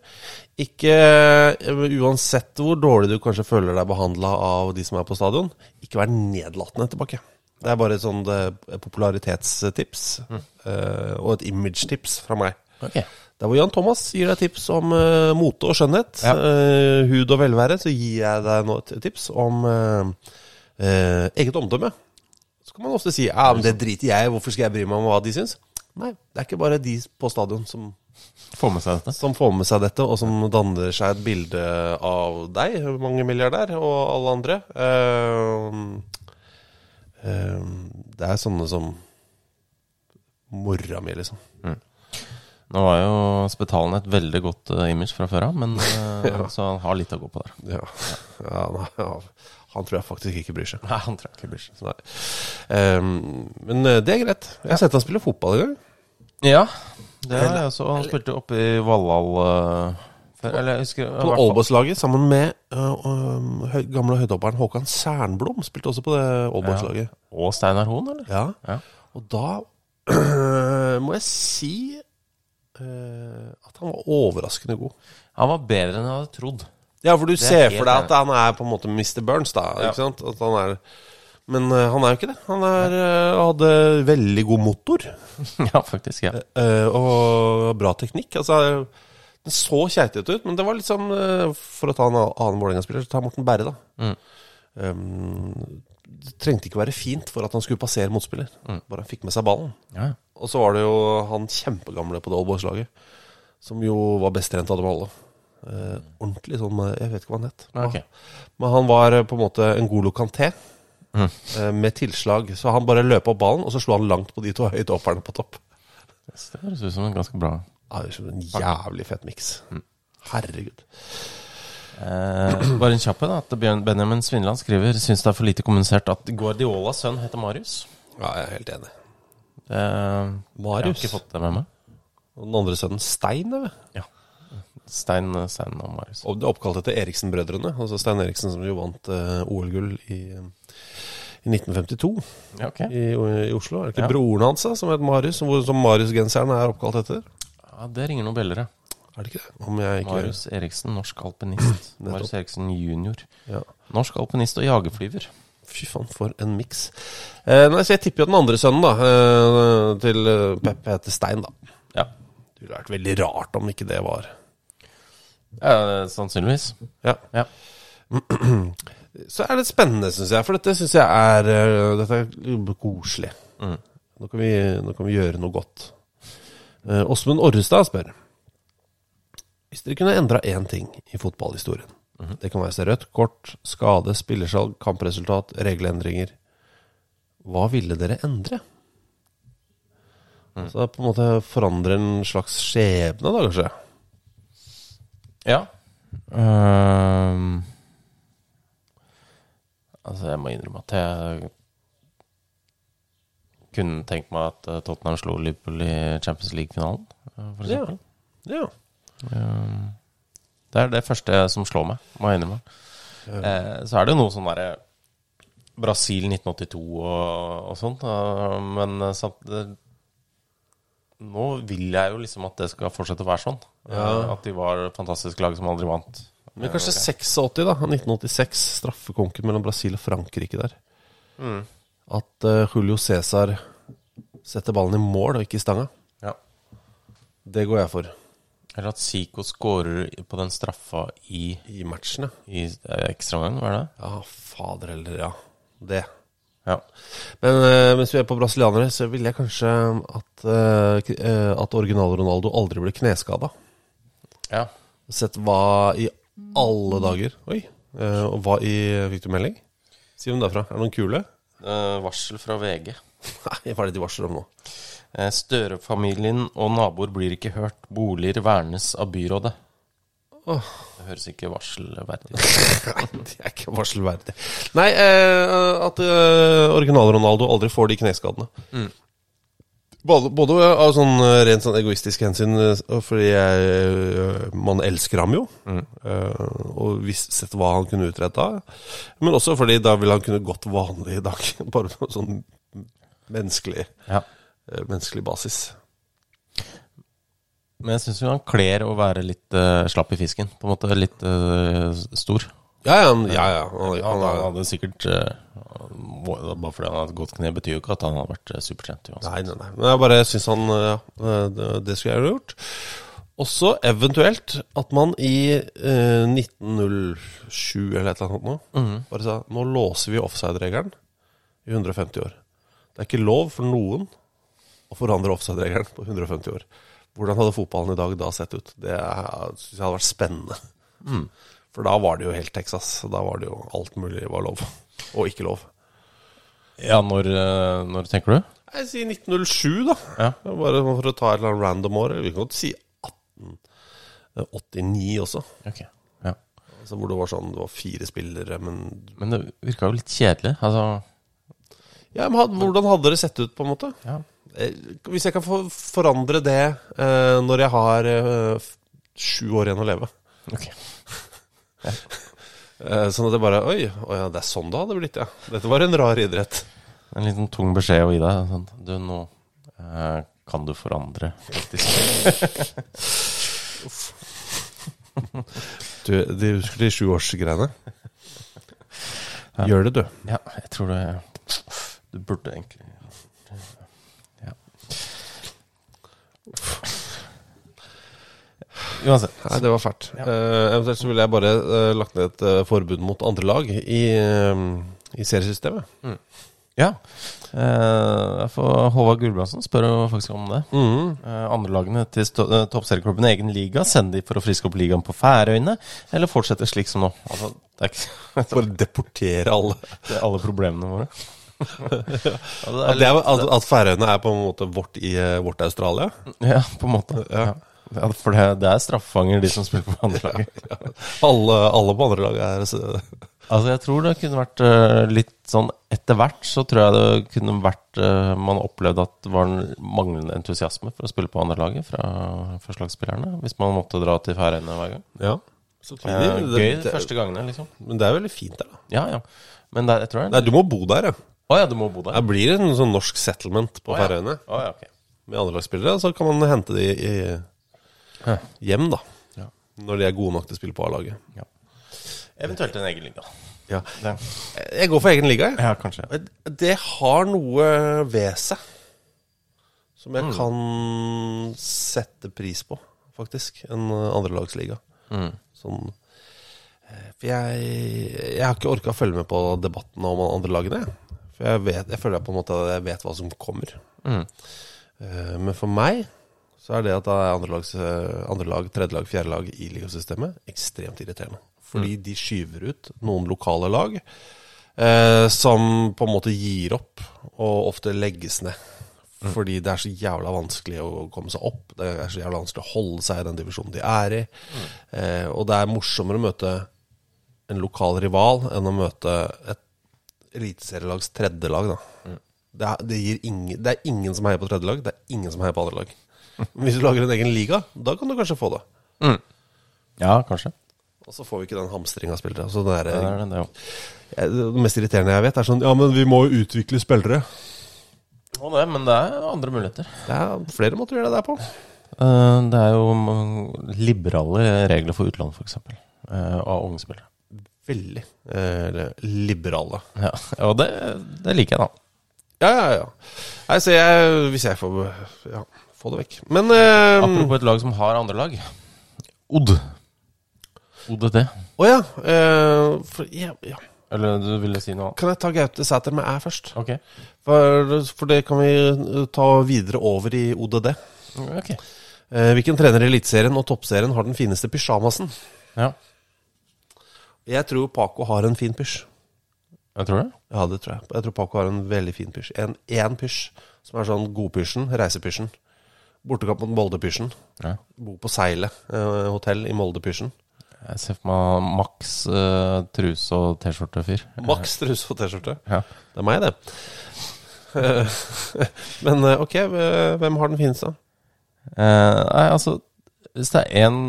C: ikke eh, Uansett hvor dårlig du kanskje føler deg behandla av de som er på stadion, ikke vær nedlatende tilbake. Det er bare et sånt eh, popularitetstips,
D: Mm.
C: eh, og et image-tips fra meg.
D: Ok.
C: Der hvor Jan Thomas gir deg tips om eh, mote og skjønnhet,
D: Ja.
C: eh, hud og velvære, så gir jeg deg nå et tips om eh, eh, eget omdømme. Så kan man ofte si ja, men det driter jeg i, hvorfor skal jeg bry meg om hva de syns? Nei, det er ikke bare de på stadion som,
D: Få med seg dette.
C: som får med seg dette, og som danner seg et bilde av deg, mange milliardær, og alle andre. Eh, eh, det er sånne som mora mi, liksom.
D: Nå var jo Spetalen et veldig godt eh, image fra før av, men eh, så han har litt å gå på der.
C: Ja, ja, nei, ja. Han tror jeg faktisk ikke bryr seg.
D: Nei, han tror jeg ikke blir
C: Nei. Ehm, men eh, det er greit. Jeg har sett han spille fotball en gang.
D: Ja, det er jeg også. Han spilte oppe i Valhall eh, før. Eller jeg husker
C: På Aalborg-laget sammen med eh, um, høy, gamle høydehopperen Håkan Sernblom. Spilte også på det Aalborg-laget.
D: Og Steinar Hoen, eller?
C: Ja.
D: Ja.
C: Og da må jeg si eh, at han var overraskende god.
D: Han var bedre enn jeg hadde trodd.
C: Ja, for du
D: er
C: ser
D: helt
C: for deg at
D: enig.
C: han er på en måte Mr. Burns, da.
D: Ja.
C: Ikke sant? At han er, men eh, han er jo ikke det. Han er, eh, hadde veldig god motor.
D: ja, faktisk. ja.
C: Eh, og bra teknikk. Altså, den så keitete ut, men det var litt sånn eh, For å ta en annen Vålerenga-spiller, så ta Morten Berre, da.
D: Mm.
C: Um, det trengte ikke være fint for at han skulle passere motspiller. Bare han fikk med seg ballen.
D: Mm. ja.
C: Og så var det jo han kjempegamle på det Aalborgslaget, som jo var best trent av dem alle. Eh, ordentlig sånn eh, Jeg vet ikke hva han het.
D: Ok.
C: Men han var eh, på en måte en god lokanté.
D: Mm.
C: eh, Med tilslag. Så han bare løp opp ballen, og så slo han langt på de to høydehopperne på topp.
D: Det høres ut som en ganske bra
C: Ja, det er en jævlig fett miks.
D: Mm.
C: Herregud.
D: eh, Bare en kjapp en. at Bjørn Benjamin Svinland skriver Synes det er for lite kommunisert at eh, Guardiolas sønn heter Marius.
C: Ja, jeg er helt enig.
D: Eh, Jeg har
C: Marius?
D: ikke fått det med meg.
C: Og den andre sønnen Stein, eller?
D: Ja. Stein, eh, Stein og Marius.
C: Og det er oppkalt etter Eriksen-brødrene. Altså Stein Eriksen som jo vant eh, OL-gull i, i 1952
D: Ja, ok.
C: i, i Oslo. Er det ikke
D: Ja.
C: broren hans da, som het Marius, som, hvor- som Marius-genseren er oppkalt etter?
D: Ja, det ringer noen beller, ja.
C: Er det ikke det? Om jeg ikke
D: Marius Eriksen, norsk alpinist.
C: Nettopp.
D: Marius Eriksen junior.
C: Ja.
D: Norsk alpinist og jagerflyver.
C: Fy faen, for en miks. Eh, nei, så jeg tipper jo den andre sønnen, da. Eh, til eh, Peppe heter Stein, da.
D: Ja.
C: Det ville vært veldig rart om ikke det var
D: Eh, sannsynligvis.
C: Ja.
D: Ja.
C: Så er det spennende, syns jeg. For dette syns jeg er eh, Dette er koselig. Nå, kan vi, nå kan vi gjøre noe godt. Eh, Åsmund Orrestad spør Hvis dere kunne endra én ting i fotballhistorien Det kan være så rødt kort, skade, spillersalg, kampresultat, regelendringer Hva ville dere endre? Så det er på en måte forandre en slags skjebne, da, kanskje?
D: Ja. Ehm, altså, jeg må innrømme at jeg kunne tenkt meg at eh, Tottenham slo Liverpool i Champions League-finalen, eh, for
C: Ja.
D: eksempel.
C: ja.
D: Ehm, det er det første som slår meg, må jeg innrømme. Eh, så er det jo noe sånn derre Brasil 1982 og, og sånt, eh, men eh, samt, det- nå vil jeg jo liksom at det skal fortsette å være sånn. Eh, At de var et fantastisk lag som aldri vant.
C: Men kanskje 86, da. 1986. Straffekonken mellom Brasil og Frankrike der. At eh, Julio Cæsar setter ballen i mål og ikke i stanga.
D: Ja.
C: Det går jeg for
D: Eller at Zico scorer på den straffa i,
C: i matchen, ja.
D: i eh, ekstraomgang, var det det?
C: Ja, fader heller, ja. Det.
D: Ja.
C: Men eh, mens vi er på brasilianere, så ville jeg kanskje at, eh, k- eh, at original-Ronaldo aldri ble kneskada.
D: ja.
C: Sett hva i alle dager Oi. eh, og hva i Fikk du melding? Si hvem det er fra. Er det noen kule?
D: Eh, varsel fra VG.
C: Nei, hva er det de varsler om nå?
D: Eh, Støre-familien og naboer blir ikke hørt. Boliger vernes av byrådet. Det høres ikke varselverdig ut.
C: Nei, det er ikke varselverdig. Nei, eh, at eh, original-Ronaldo aldri får de kneskadene.
D: Mm.
C: Både, både av sånn eh, rent sånn egoistisk hensyn, eh, og fordi jeg, eh, man elsker ham jo.
D: Mm.
C: Eh, og visst sett hva han kunne utretta. Men også fordi da ville han kunne gått vanlig i dag. Bare på sånn menneskelig,
D: Ja.
C: eh, menneskelig basis.
D: Men jeg syns jo han kler å være litt eh, slapp i fisken. På en måte litt eh, stor.
C: Ja, ja. men- ja, ja.
D: Han,
C: Han, han,
D: han
C: er-
D: hadde sikkert eh, må- Bare fordi han hadde et godt kne, betyr jo ikke at han hadde vært eh, supertrent. uansett.
C: Nei, nei, nei. Men jeg bare syns han ja, det, det skulle jeg ha gjort. Også eventuelt at man i eh, 1907 eller et eller annet nå bare sa nå låser vi offside-regelen i 150 år. Det er ikke lov for noen å forandre offside-regelen på 150 år. Hvordan hadde fotballen i dag da sett ut? Det syns jeg hadde vært spennende. For da var det jo helt Texas. Da var det jo alt mulig var lov, og ikke lov.
D: Ja, når, eh, når tenker du?
C: Jeg sier 1907, da. Bare sånn for å ta et eller annet random år. Vi kan godt si 1889 også.
D: Ok, ja
C: Altså hvor det var sånn, det var fire spillere, men
D: Men det virka jo litt kjedelig. Altså
C: Ja, men had- Hvordan hadde det sett ut, på en måte?
D: Ja.
C: Eh, Hvis jeg kan få forandre det eh, når jeg har eh, f- sju år igjen å leve.
D: Ok.
C: Eh, sånn at jeg bare Oi, å ja, det er sånn det hadde blitt, ja. Dette var en rar idrett.
D: En liten tung beskjed å gi deg. Sånn. Du, nå eh, kan du forandre, faktisk.
C: Du, de husker de sjuårsgreiene? Gjør det, du.
D: ja, jeg tror det Du burde egentlig Ja. Uansett.
C: Nei, det var fælt. Eh, eventuelt så ville jeg bare eh, lagt ned et eh, forbud mot andre lag i, eh, i seriesystemet.
D: Ja. Eh, for Håvard Gulbrandsen spør jo faktisk om det. Eh, Andrelagene til sto- eh, toppserieklubben i egen liga, send de for å friske opp ligaen på Færøyene, eller fortsette slik som nå? Altså, det er ikke
C: Bare deportere alle.
D: det er alle problemene våre. ja, det
C: At,
D: er
C: det
D: litt,
C: er, at, at Færøyene er på en måte vårt, i, eh, vårt Australia.
D: ja, på en måte. Ja. Ja, for det, det er straffanger, de som spiller på andrelaget.
C: Alle, alle på andre lag er eh,
D: Altså, jeg tror det kunne vært eh, litt sånn Etter hvert så tror jeg det kunne vært eh, Man opplevde at det var en manglende entusiasme for å spille på andrelaget fra førstelagsspillerne. Hvis man måtte dra til Færøyene hver gang.
C: Ja.
D: Eh,
C: Samtidig,
D: gøy
C: det-
D: de første gangene, liksom.
C: Men det er veldig fint der, da.
D: Ja, ja. Men det, er- jeg tror det
C: Nei, du må bo der, ja.
D: Å ja, du må bo der.
C: Det blir en sånn norsk settlement på
D: Å, ja.
C: Færøyene.
D: Å, ja, ok.
C: Med andrelagsspillere, så kan man hente de i hjem, da.
D: Ja.
C: Når de er gode nok til å spille på A-laget.
D: Eventuelt en egen liga.
C: Ja.
D: Det.
C: Jeg går for egen liga, jeg.
D: Ja, kanskje.
C: Det har noe ved seg som
D: Mm.
C: jeg kan sette pris på, faktisk. En eh, andrelagsliga.
D: Mm.
C: Sånn eh, For jeg, jeg har ikke orka å følge med på debatten om andrelagene. jeg. For jeg, vet, jeg føler på en måte at jeg vet hva som kommer.
D: Mm.
C: Eh, Men for meg så er det at det er andrelags, eh, andrelag, tredjelag, fjerdelag i ligasystemet ekstremt irriterende. Fordi
D: Mm.
C: de skyver ut noen lokale lag eh, som på en måte gir opp, og ofte legges ned.
D: Mm.
C: Fordi det er så jævla vanskelig å komme seg opp. Det er så jævla vanskelig å holde seg i den divisjonen de er i.
D: Mm.
C: Eh, og det er morsommere å møte en lokal rival enn å møte et eliteserielags tredjelag, da.
D: Mm.
C: Det, er, det, gir ingen, det er ingen som heier på tredjelag, det er ingen som heier på andre lag. Men Hvis du lager en egen liga, da kan du kanskje få det.
D: Ja, kanskje.
C: Og så får vi ikke den hamstringa av spillere. Så det,
D: Det
C: er,
D: er det, det òg.
C: jeg- det mest irriterende jeg vet, er sånn Ja, men vi må jo utvikle spillere.
D: Og det, men det er andre muligheter.
C: Det er flere måter å gjøre det der på.
D: Eh, Det er jo mm, liberale regler for utlandet, f.eks. Av unge spillere.
C: Veldig eh, liberale.
D: Ja, og det, det liker jeg, da.
C: Ja, ja, ja. Nei, så jeg Hvis jeg får Ja, få det vekk. Men eh,
D: Apropos et lag som har andre lag. Odd. ODT.
C: Å ja. eh, for, ja, ja.
D: Eller du ville si noe annet?
C: Kan jeg ta Gaute Sæter med æ først?
D: Ok.
C: For, for det kan vi eh, ta videre over i ODD.
D: Ok.
C: Eh, hvilken trener i Eliteserien og Toppserien har den fineste pysjamasen?
D: Ja.
C: Jeg tror Paco har en fin pysj.
D: Jeg tror det.
C: Ja, det tror jeg. Jeg tror Paco har en veldig fin pysj. En én pysj, som er sånn godpysjen, reisepysjen. Bortekamp mot Molde-pysjen.
D: Ja.
C: Bo på Seilet eh, hotell i Molde-pysjen.
D: Jeg ser for meg maks eh, truse og T-skjorte-fyr.
C: Maks truse og T-skjorte.
D: Ja.
C: Det er meg, det. Eh, Men eh, ok, eh, hvem har den fineste?
D: Eh, nei, altså Hvis det er én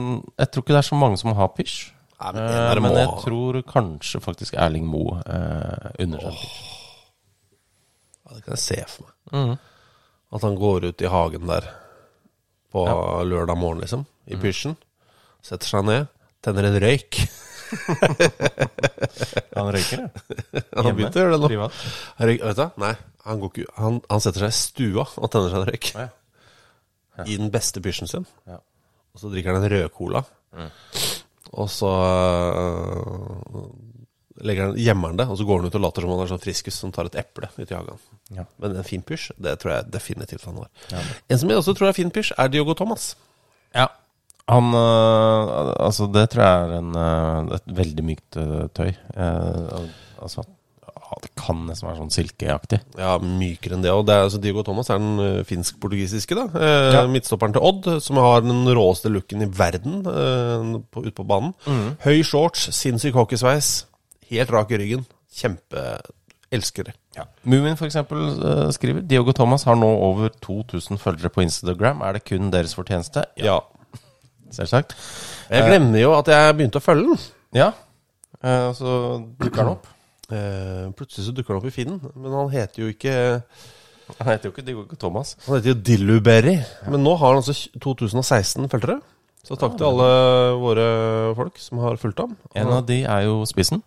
D: Jeg tror ikke det er så mange som har pysj.
C: Nei, men en
D: Eh,
C: av dem
D: men
C: må
D: jeg
C: ha.
D: tror kanskje faktisk Erling Moe eh, unner seg en pysj.
C: Ja, det kan jeg se for meg.
D: Mm.
C: At han går ut i hagen der på lørdag morgen, liksom.
D: Mm.
C: I pysjen. Setter seg ned, tenner en røyk.
D: Han røyker, ja.
C: Han har
D: Hjemme?
C: begynt å gjøre det nå.
D: Privat?
C: Han røyker- vet du, nei, han, går ikke, han, han setter seg i stua og tenner seg en røyk.
D: Ja.
C: I den beste pysjen sin.
D: Ja. Mm.
C: Og så drikker han en rød cola. Og så øh, legger han, gjemmer han det, og så går han ut og later som han er sånn friskus som tar et eple ut i hagen.
D: Ja.
C: Men en fin pysj, det tror jeg definitivt han var. En som jeg også tror er fin pysj, er Diogo Thomas.
D: Ja. Han øh, Altså, det tror jeg er en, øh, et veldig mykt øh, tøy. Eh, og- altså ja, Det kan nesten være sånn silkeaktig.
C: Ja, mykere enn det. Og det er, altså, Diogo Thomas er den ø, finsk-portugisiske, da. Eh,
D: Ja.
C: Midtstopperen til Odd, som har den råeste looken i verden eh, på, ute på banen. Høy shorts, sinnssyk hockeysveis, helt rak i ryggen. Kjempe Elsker det.
D: Mumin for eksempel øh, skriver Diogo Thomas har nå over 2000 følgere på Instagram. Er det kun deres fortjeneste?
C: Ja.
D: Selvsagt.
C: Jeg glemmer jo at jeg begynte å følge den.
D: Ja. Eh, og så dukker han opp.
C: Eh, plutselig så dukker han opp i feeden, men han heter jo ikke
D: Han heter jo ikke Diogo Thomas.
C: Han heter jo Dilluberry. Men nå har han altså 2016 følgere. Så takk til alle våre folk som har fulgt ham.
D: En av de er jo spissen.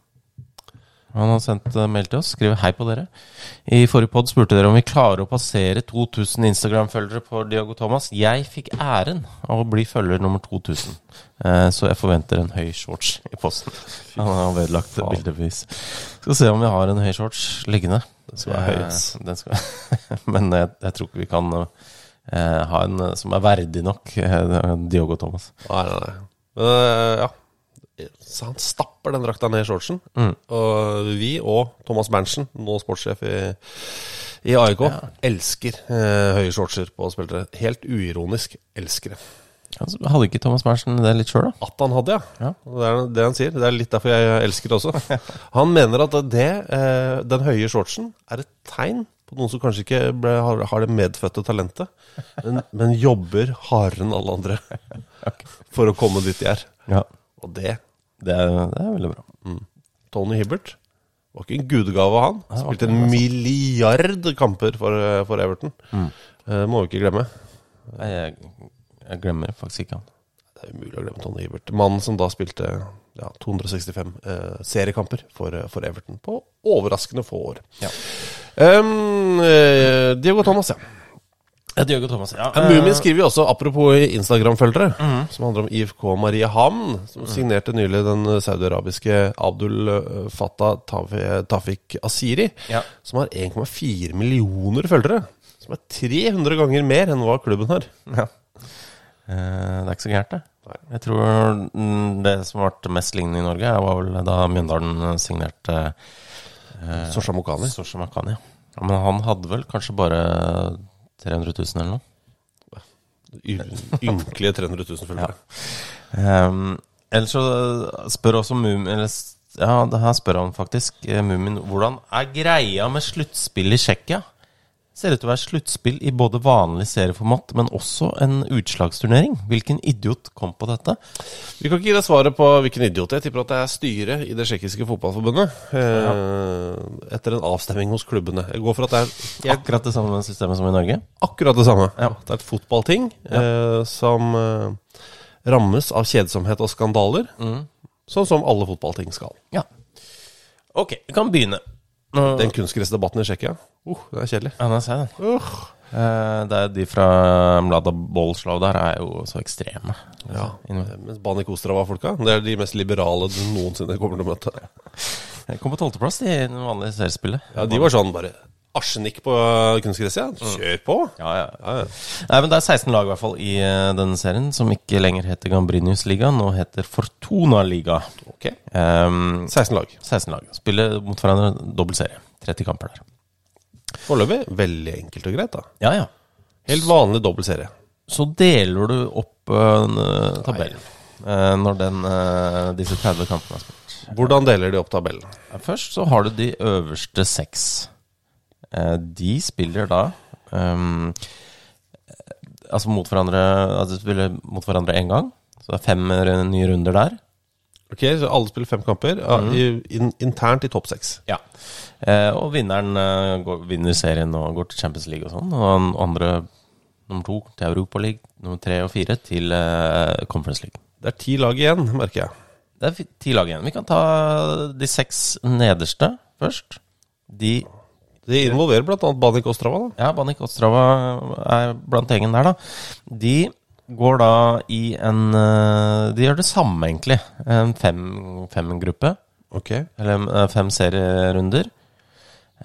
D: Han har sendt eh, mail til oss. Skriver 'hei på dere'. I forrige pod spurte dere om vi klarer å passere 2000 Instagram-følgere på Diogo Thomas. Jeg fikk æren av å bli følger nummer 2000, eh, så jeg forventer en høy shorts i posten. Han har vedlagt det bildebevis. Skal se om vi har en høy shorts liggende. Den
C: skal være høy, ass.
D: Den skal... Men jeg, jeg tror ikke vi kan eh, ha en eh, som er verdig nok eh, Diogo Thomas.
C: Nei, nei, nei. Men, øh, ja. Så han stapper den drakta ned i shortsen. Og vi og Thomas Berntsen, nå sportssjef i, i AIK, elsker eh, høye shortser på spillere. Helt uironisk elsker det.
D: Altså, Hadde ikke Thomas Marensen det litt sjøl, da?
C: At han hadde, ja. Det er det han sier. Det er litt derfor jeg elsker det også. Han mener at det, eh, den høye shortsen er et tegn på noen som kanskje ikke ble, har, har det medfødte talentet, men, men jobber hardere enn alle andre for å komme dit de er.
D: Ja.
C: Og det
D: Det er, det er veldig bra.
C: mm. Tony Hibbert var ikke en gudegave, han. Spilte en milliard kamper for, eh, for Everton.
D: altså. Mm.
C: Eh, må vi ikke glemme.
D: Nei, Jeg, jeg glemmer faktisk ikke han.
C: Det er umulig å glemme Tony Hibbert. Mannen som da spilte ja, 265 eh, seriekamper for, eh, for Everton på overraskende få år.
D: Ja.
C: Ehm, eh, Diego Thomas, ja.
D: Diogo Thomas, ja.
C: Eh, Mhm. Mumin skriver jo også, apropos Instagram-følgere, som handler om IFK Mariehamn, som signerte nylig den eh, saudiarabiske Abdul eh, Fattah Taf- Tafik Asiri,
D: Ja.
C: som har 1,4 millioner følgere. Som er 300 ganger mer enn hva klubben har.
D: Ja. Eh, Det er ikke så gærent, det. Jeg tror mm, det som ble mest lignende i Norge, var vel da Mjøndalen signerte eh,
C: Sorsa Mokani.
D: Sorsa Makani. Ja, men han hadde vel kanskje bare 300 000 eller noe.
C: Y- Ynkelige 300 000 følgere.
D: Um, ellers så spør også Mumin eller, s- Ja, det her spør han faktisk, eh, Mumin, hvordan er greia med sluttspill i Tsjekkia? Ser ut til å være sluttspill i både vanlig serieformat, men også en utslagsturnering. Hvilken idiot kom på dette?
C: Vi kan ikke gi deg svaret på hvilken idiot. Jeg tipper at det er styret i det tsjekkiske fotballforbundet. Eh, Etter en avstemning hos klubbene. Jeg går for at det er jeg,
D: Akkurat det samme systemet som i Norge.
C: akkurat det samme. Det er et fotballting eh, som eh, rammes av kjedsomhet og skandaler. Sånn som alle fotballting skal.
D: Ja. Ok, vi kan begynne. Nå-
C: Den kunstgressdebatten i Tsjekkia, uh, det er kjedelig.
D: Ja, nå ser jeg den. Eh, det er de fra Mlada Bolslav der er jo så ekstreme. Altså,
C: Ja.
D: Innimellom.
C: Mens Bani Kostrava-folka, det er de mest liberale du noensinne kommer til å møte.
D: Jeg kom på tolvteplass i det vanlige seriespillet.
C: Ja, De var sånn bare Arsenikk på kunstgresset, ja. Kjør på!
D: Ja, ja, Nei, men Det er 16 lag i hvert fall i eh, denne serien, som ikke lenger heter Gambrinus-ligaen, nå heter Fortuna-liga.
C: Ok.
D: Ehm,
C: 16 lag.
D: 16 lag. Spiller mot hverandre dobbel serie. 30 kamper der.
C: Foreløpig veldig enkelt og greit, da.
D: Ja, ja.
C: Helt vanlig dobbeltserie.
D: Så deler du opp eh, tabellen eh, når den, eh, disse 30 kampene er spilt.
C: Hvordan deler de opp tabellen?
D: Ja, Først så har du de øverste seks. Eh, De spiller da ehm, Altså mot hverandre altså de spiller mot hverandre én gang. Så det er fem eh, nye runder der.
C: Ok, så Alle spiller fem kamper, ja, i, in, internt i topp seks.
D: Ja. Eh, og vinneren eh, går, vinner serien og går til Champions League og sånn. Og den andre, nummer to, til Europa League. Nummer tre og fire til eh, Conference League.
C: Det er ti lag igjen, merker jeg.
D: Det er fi- ti lag igjen. Vi kan ta de seks nederste først. De
C: Det involverer bl.a. Banik Ostrava. da
D: Ja, Banik Ostrava er blant gjengen der, da. De går da i en eh, De gjør det samme, egentlig. En fem- femgruppe.
C: Ok,
D: eller eh, fem serierunder.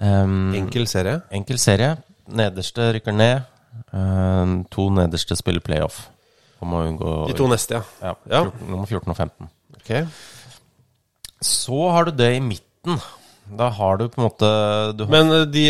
D: Um,
C: Enkel serie.
D: Enkel serie. Nederste rykker ned. Eh, to nederste spiller playoff. Om å unngå
C: De to neste, ja.
D: Ja,
C: Ja.
D: fjorten- Nummer 14 og 15.
C: Ok
D: Så har du det i midten. Da har du på en måte du har,
C: Men eh, de,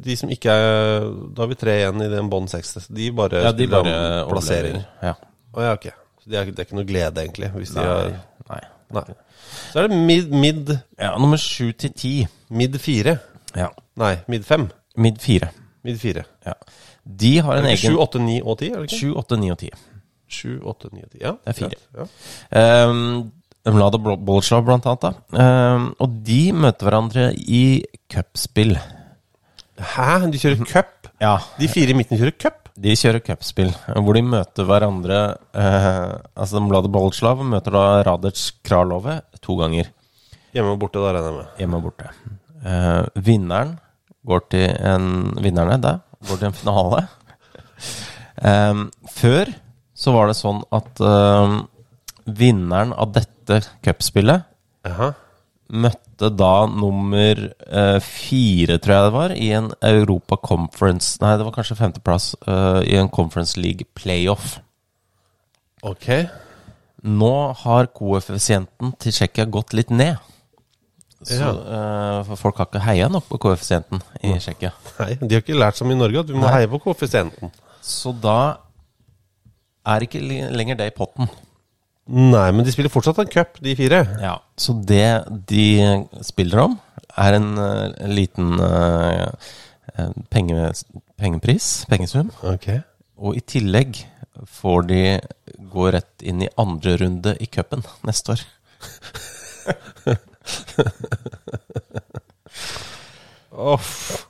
C: de som ikke er Da har vi tre igjen i den bånn seks. De bare
D: Ja, de
C: spiller om
D: bare
C: plassering.
D: overlever. Ja.
C: Å ja, ok. Så de er, det er ikke noe glede, egentlig. Hvis de har,
D: Nei. Nei.
C: nei. Så er det mid, mid,
D: Ja, nummer sju til ti.
C: mid fire.
D: Ja.
C: Nei, mid fem.
D: Mid fire.
C: Mid fire.
D: Ja. De har
C: Er
D: en
C: det ikke
D: egen
C: sju, åtte, ni og ti? er det ikke?
D: 7, 8, 9 og 10.
C: Sju, åtte, ni og ti. Ja,
D: Det er fire.
C: greit. Ja.
D: Um, Mlada Bol- Bolslav, blant annet. Da. Ehm, og de møter hverandre i cupspill.
C: Hæ? De kjører cup?
D: Ja.
C: De fire i midten kjører cup?
D: De kjører cupspill, hvor de møter hverandre eh, Altså Mlada Bolslav møter da Radec Kralove to ganger,
C: Hjemme og borte, da regner jeg med.
D: hjemme og borte. Eh, vinneren går til en Vinnerne der går til en finale. Ehm, før så var det sånn at ehm, vinneren av dette cupspillet
C: Jaha.
D: møtte da nummer eh, fire, tror jeg det var, i en Europa Conference Nei, det var kanskje femteplass eh, i en Conference League playoff.
C: Ok.
D: Nå har koeffisienten til Tsjekkia gått litt ned. Så, eh, for folk har ikke heia nok på koeffisienten i Tsjekkia.
C: Nei, de har ikke lært som i Norge at vi må heie på koeffisienten.
D: Så da er ikke li- lenger det i potten.
C: Nei, men de spiller fortsatt en cup, de fire.
D: Ja, Så det de spiller om, er en eh, liten eh, eh, penge, pengepris, pengesum.
C: Ok.
D: Og i tillegg får de gå rett inn i andre runde i cupen neste år.
C: Off.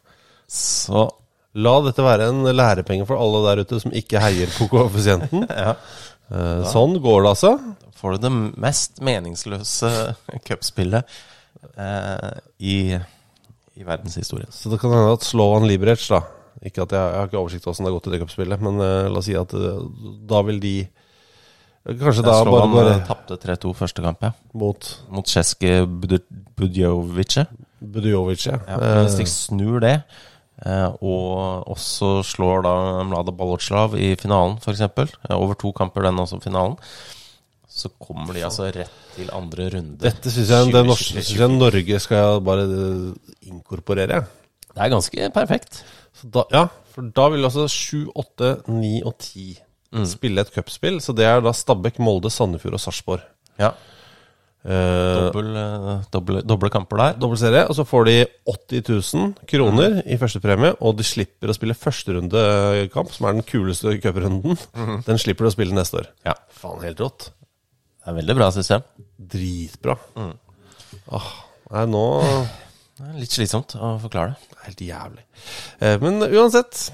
D: Så
C: La dette være en lærepenge for alle der ute som ikke heier på koeffisienten.
D: Ja.
C: Eh, Sånn går det, altså.
D: får du det mest meningsløse cupspillet eh, i, i verdenshistorien.
C: Så det kan hende at Slovan Liberec, da Ikke at jeg, jeg har ikke oversikt over hvordan det har gått i det cupspillet, men eh, la oss si at eh, da vil de eh, Kanskje da bare
D: Slovan
C: bare
D: eh, tapte 3-2 første kamp, ja.
C: mot
D: Mot Czeske Budjovice.
C: Budujovic, ja.
D: Ja,
C: Eh,
D: hvis de snur det, eh, og også slår da Mlada Balotslav i finalen, f.eks. Over to kamper, den også finalen. Så kommer de altså rett til andre runde.
C: Eh, dette syns jeg, det
D: 20,
C: norske-
D: 23,
C: synes jeg Norge skal bare eh, inkorporere.
D: Det er ganske perfekt.
C: Så da, ja, for da vil altså 7, 8, 9 og 10
D: Mm.
C: spille et cupspill. Så det er da Stabæk, Molde, Sandefjord og Sarpsborg.
D: Ja.
C: Eh,
D: Dobbel, eh, doble, doble kamper der. Mm.
C: dobbel serie, og så får de 80 000 kroner i første premie, og de slipper å spille førsterundekamp, som er den kuleste cuprunden. Den slipper de å spille neste år.
D: Mm-hmm. Ja.
C: Faen, helt rått.
D: Det er veldig bra system.
C: Dritbra.
D: Mm.
C: Åh, nei, nå
D: Det er litt slitsomt å forklare det.
C: Helt jævlig. Eh, men uansett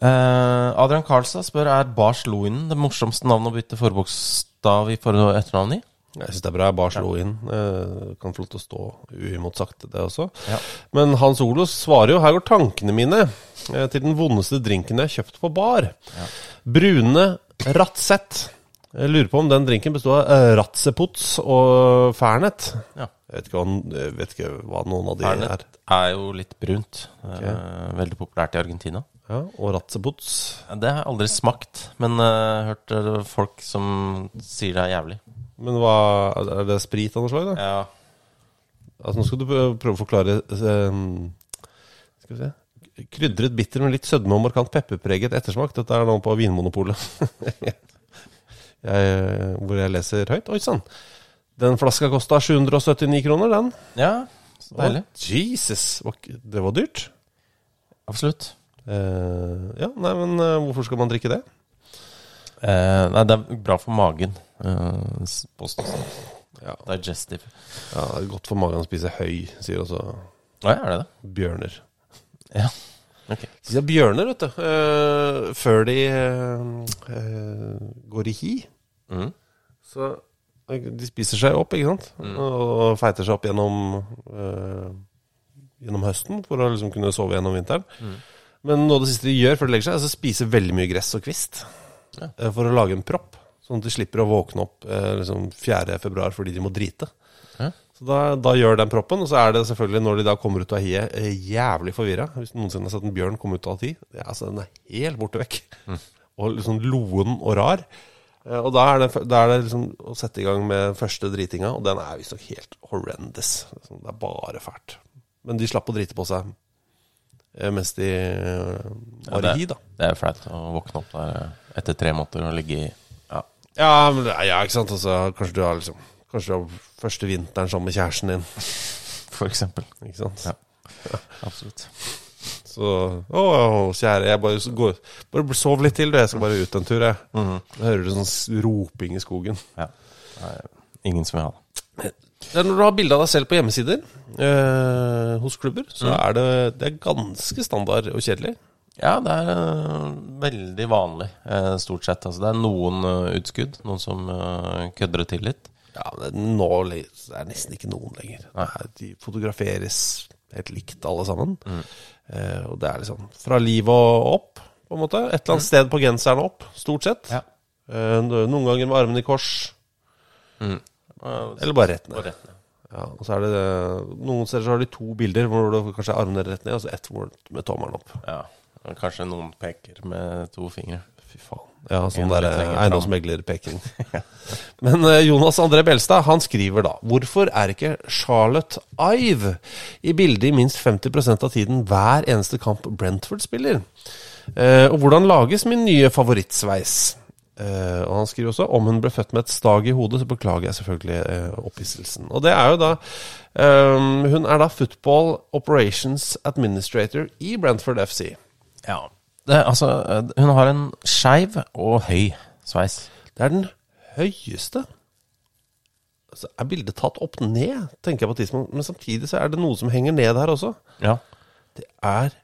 D: Eh, Adrian Karlstad spør er Bars Loinen det morsomste navnet å bytte forbokstav i for- og etternavn i.
C: Jeg syns det er bra. Bare slo inn. Eh, kan få lov til å stå uimotsagt, det også.
D: Ja.
C: Men Hans Olos svarer jo 'Her går tankene mine' eh, til den vondeste drinken jeg har kjøpt på bar. Brune Ratsett. Jeg lurer på om den drinken bestod av eh, Ratsepots og Fernet.
D: Ja.
C: Jeg vet ikke, hva, jeg vet ikke hva noen av de
D: Fernet
C: er.
D: er jo litt brunt. Eh, veldig populært i Argentina.
C: Ja, og Ratsepots.
D: Det har jeg aldri smakt, men eh, hørt eh, folk som sier det er jævlig.
C: Men hva, er det sprit av noe slag, da?
D: Ja.
C: Altså, nå skal du prø- prøve å forklare eh, Skal vi se Krydret bitter med litt sødme og markant pepperpreget ettersmak. Dette er nå på Vinmonopolet. jeg, hvor jeg leser høyt. Oi sann! Den flaska kosta 779 kroner, den.
D: ja, så deilig.
C: Å, Jesus! var ikke- Det var dyrt.
D: Absolutt.
C: Eh, ja, nei, men eh, hvorfor skal man drikke det?
D: Eh, nei, det er bra for magen. eh, s- påstås det.
C: Ja.
D: Digestive.
C: Ja, det er Godt for magen å spise høy, sier også
D: Å ja, er det det?
C: bjørner.
D: Ja. Ok.
C: De har bjørner, vet du. eh, før de eh, eh, går i hi.
D: Mhm.
C: Så de spiser seg opp, ikke sant? Og feiter seg opp gjennom, eh, gjennom høsten for å liksom kunne sove gjennom vinteren. Men noe av det siste de gjør før de legger seg, er å spise veldig mye gress og kvist. eh, for å lage en propp, sånn at de slipper å våkne opp eh, liksom 4. februar fordi de må drite.
D: Ja.
C: Så da, da gjør den proppen, og så er det selvfølgelig når de da kommer ut av hiet, eh, jævlig forvirra. Hvis du noensinne har sett en bjørn komme ut av et hi, det er, altså, den er helt borte vekk. Og liksom loen og rar. Eh, Og da er det, da er det liksom å sette i gang med første dritinga, og den er visstnok helt horrendous. Liksom, Det er bare fælt. Men de slapp å drite på seg eh, mens de eh,
D: Ja,
C: var i hi, da.
D: Det er jo flaut å våkne opp der eh, etter tre måneder og ligge i ja.
C: Ja, men det er, ja ikke sant. Altså, kanskje du har liksom Kanskje du har første vinteren sammen med kjæresten din.
D: For eksempel.
C: Ikke sant?
D: Ja. Absolutt.
C: Så Å, kjære, jeg bare, går, bare sov litt til, du. Jeg skal bare ut en tur, jeg.
D: Mhm.
C: Da hører du sånn s- roping i skogen.
D: Ja. Nei, ingen som vil ha det.
C: Det er når du har bilde av deg selv på hjemmesider eh, hos klubber, så
D: Mm.
C: er det, det er ganske standard og kjedelig.
D: Ja, det er øh, veldig vanlig, eh, stort sett. Altså, det er noen øh, utskudd, noen som øh, kødder det til litt.
C: Ja, men det er nå le- det er nesten ikke noen lenger. Nei, De fotograferes helt likt, alle sammen.
D: Mm.
C: Eh, og det er liksom fra livet og opp, på en måte. Et eller annet sted på genseren og opp, stort sett.
D: Mm. Ja.
C: Eh, noen ganger med armene i kors. Eh, Eller bare rett ned.
D: Mm. Og rett ned.
C: Ja, og så er det Noen steder så har de to bilder hvor det kanskje er armene rett ned, og så ett hvor med tommelen opp.
D: Ja. Og Kanskje noen peker med to fingre.
C: Fy faen. Ja, sånn
D: En
C: der
D: litt lenger fram.
C: eiendomsmeglerpeking. Men eh, Jonas André Belstad han skriver da Hvorfor er ikke Charlotte Ive i bildet i minst 50 av tiden hver eneste kamp Brentford spiller? Eh, og hvordan lages min nye favorittsveis? Eh, og han skriver også om hun ble født med et stag i hodet, så beklager jeg selvfølgelig eh, opphisselsen. Og det er jo da eh, Hun er da Football Operations Administrator i Brentford FC.
D: Ja. Det, altså, hun har en skeiv og høy sveis.
C: Det er den høyeste. Så er bildet tatt opp ned, tenker jeg på tidspunkt. Men samtidig så er det noe som henger ned her også.
D: Ja.
C: Det er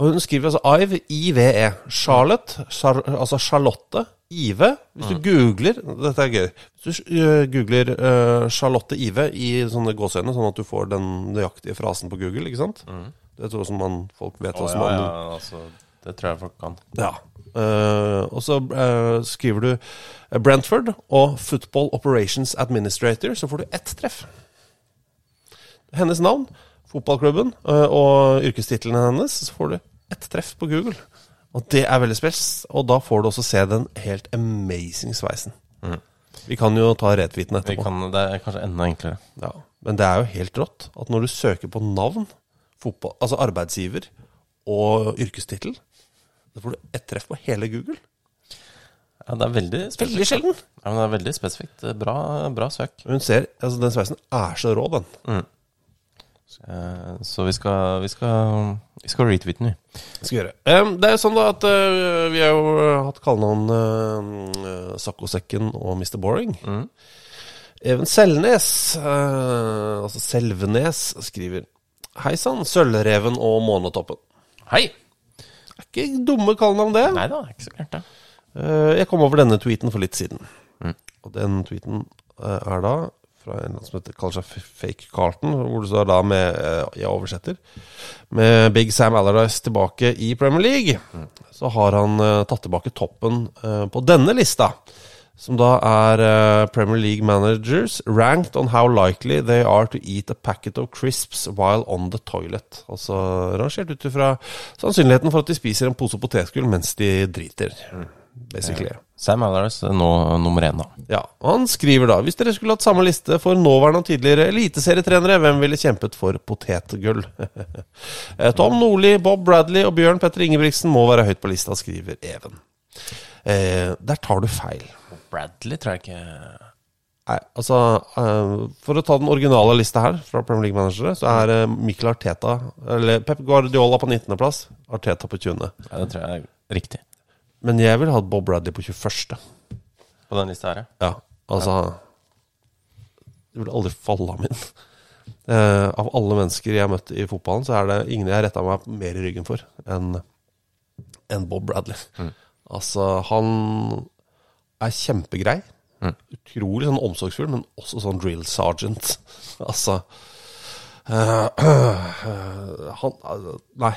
C: Og hun skriver altså Ive, I-V-E. Charlotte, Char, altså Charlotte, Ive. Hvis du
D: Mm.
C: googler Dette er gøy. Hvis du øh, googler øh, Charlotte Ive i sånne gåseøyne, sånn at du får den nøyaktige frasen på Google, ikke sant?
D: Mm.
C: Det tror jeg som man, folk vet hva
D: Å,
C: som
D: ja,
C: er
D: ja, altså, det tror jeg folk kan.
C: ja. Eh, og så eh, skriver du eh, Brentford og Football Operations Administrator, så får du ett treff. Hennes navn, fotballklubben eh, og yrkestitlene hennes, så får du ett treff på Google. Og det er veldig spes, og da får du også se den helt amazing sveisen.
D: Mm.
C: Vi kan jo ta retweeten
D: Vi
C: etterpå.
D: kan, det er kanskje enda enklere.
C: Ja. Men det er jo helt rått at når du søker på navn, fotball, altså arbeidsgiver og yrkestittel, så får du ett treff på hele Google.
D: Ja, det er veldig spesifikt.
C: Veldig sjelden.
D: Ja, men det er veldig spesifikt. Bra, bra søk.
C: Hun ser, altså Den sveisen er så rå, den.
D: Mm. Så, eh, Så vi skal, vi skal, vi skal retweete den, vi.
C: Skal gjøre. Em, det er jo sånn da at eh, vi har jo hatt kallenavn uh, Saccosekken og Mr. Boring. Even Selnes, eh, altså Selvenes, skriver Hei sann, Sølvreven og Månetoppen.
D: Hei!
C: Er ikke dumme kallenavn, det.
D: Nei da, ikke så gærent, det.
C: Eh, jeg kom over denne tweeten for litt siden.
D: Mm.
C: Og den tweeten eh, er da fra en som heter, kaller seg F- Fake Carlton, hvor det står da med eh, Jeg oversetter. Med Big Sam Allardyce tilbake i Premier League, så har han eh, tatt tilbake toppen eh, på denne lista. Som da er eh, Premier League managers ranked on how likely they are to eat a packet of crisps while on the toilet. Altså rangert ut ifra sannsynligheten for at de spiser en pose potetgull mens de driter. Basically.
D: Sam Allardyce er nå nummer én, da.
C: Ja, og Han skriver da Hvis dere skulle hatt samme liste for nåværende og tidligere eliteserietrenere, hvem ville kjempet for potetgull? Eh, Tom Nordli, Bob Bradley og Bjørn Petter Ingebrigtsen må være høyt på lista, skriver Even. Eh, der tar du feil.
D: Bradley tror jeg ikke
C: Nei, altså eh, For å ta den originale lista her, fra Premier League-managere, så er eh, Mikkel Arteta Eller Pep Guardiola på 19.-plass, Arteta på 20.
D: Ja, det tror jeg er riktig.
C: Men jeg ville hatt Bob Bradley på 21.
D: På den lista her, ja.
C: Ja, altså Det ville aldri falle av min. Eh, av alle mennesker jeg har møtt i fotballen, så er det ingen jeg har retta meg mer i ryggen for enn enn Bob Bradley. Altså, han er kjempegrei. Utrolig sånn omsorgsfull, men også sånn drill sergeant. altså eh, eh, Han eh, Nei.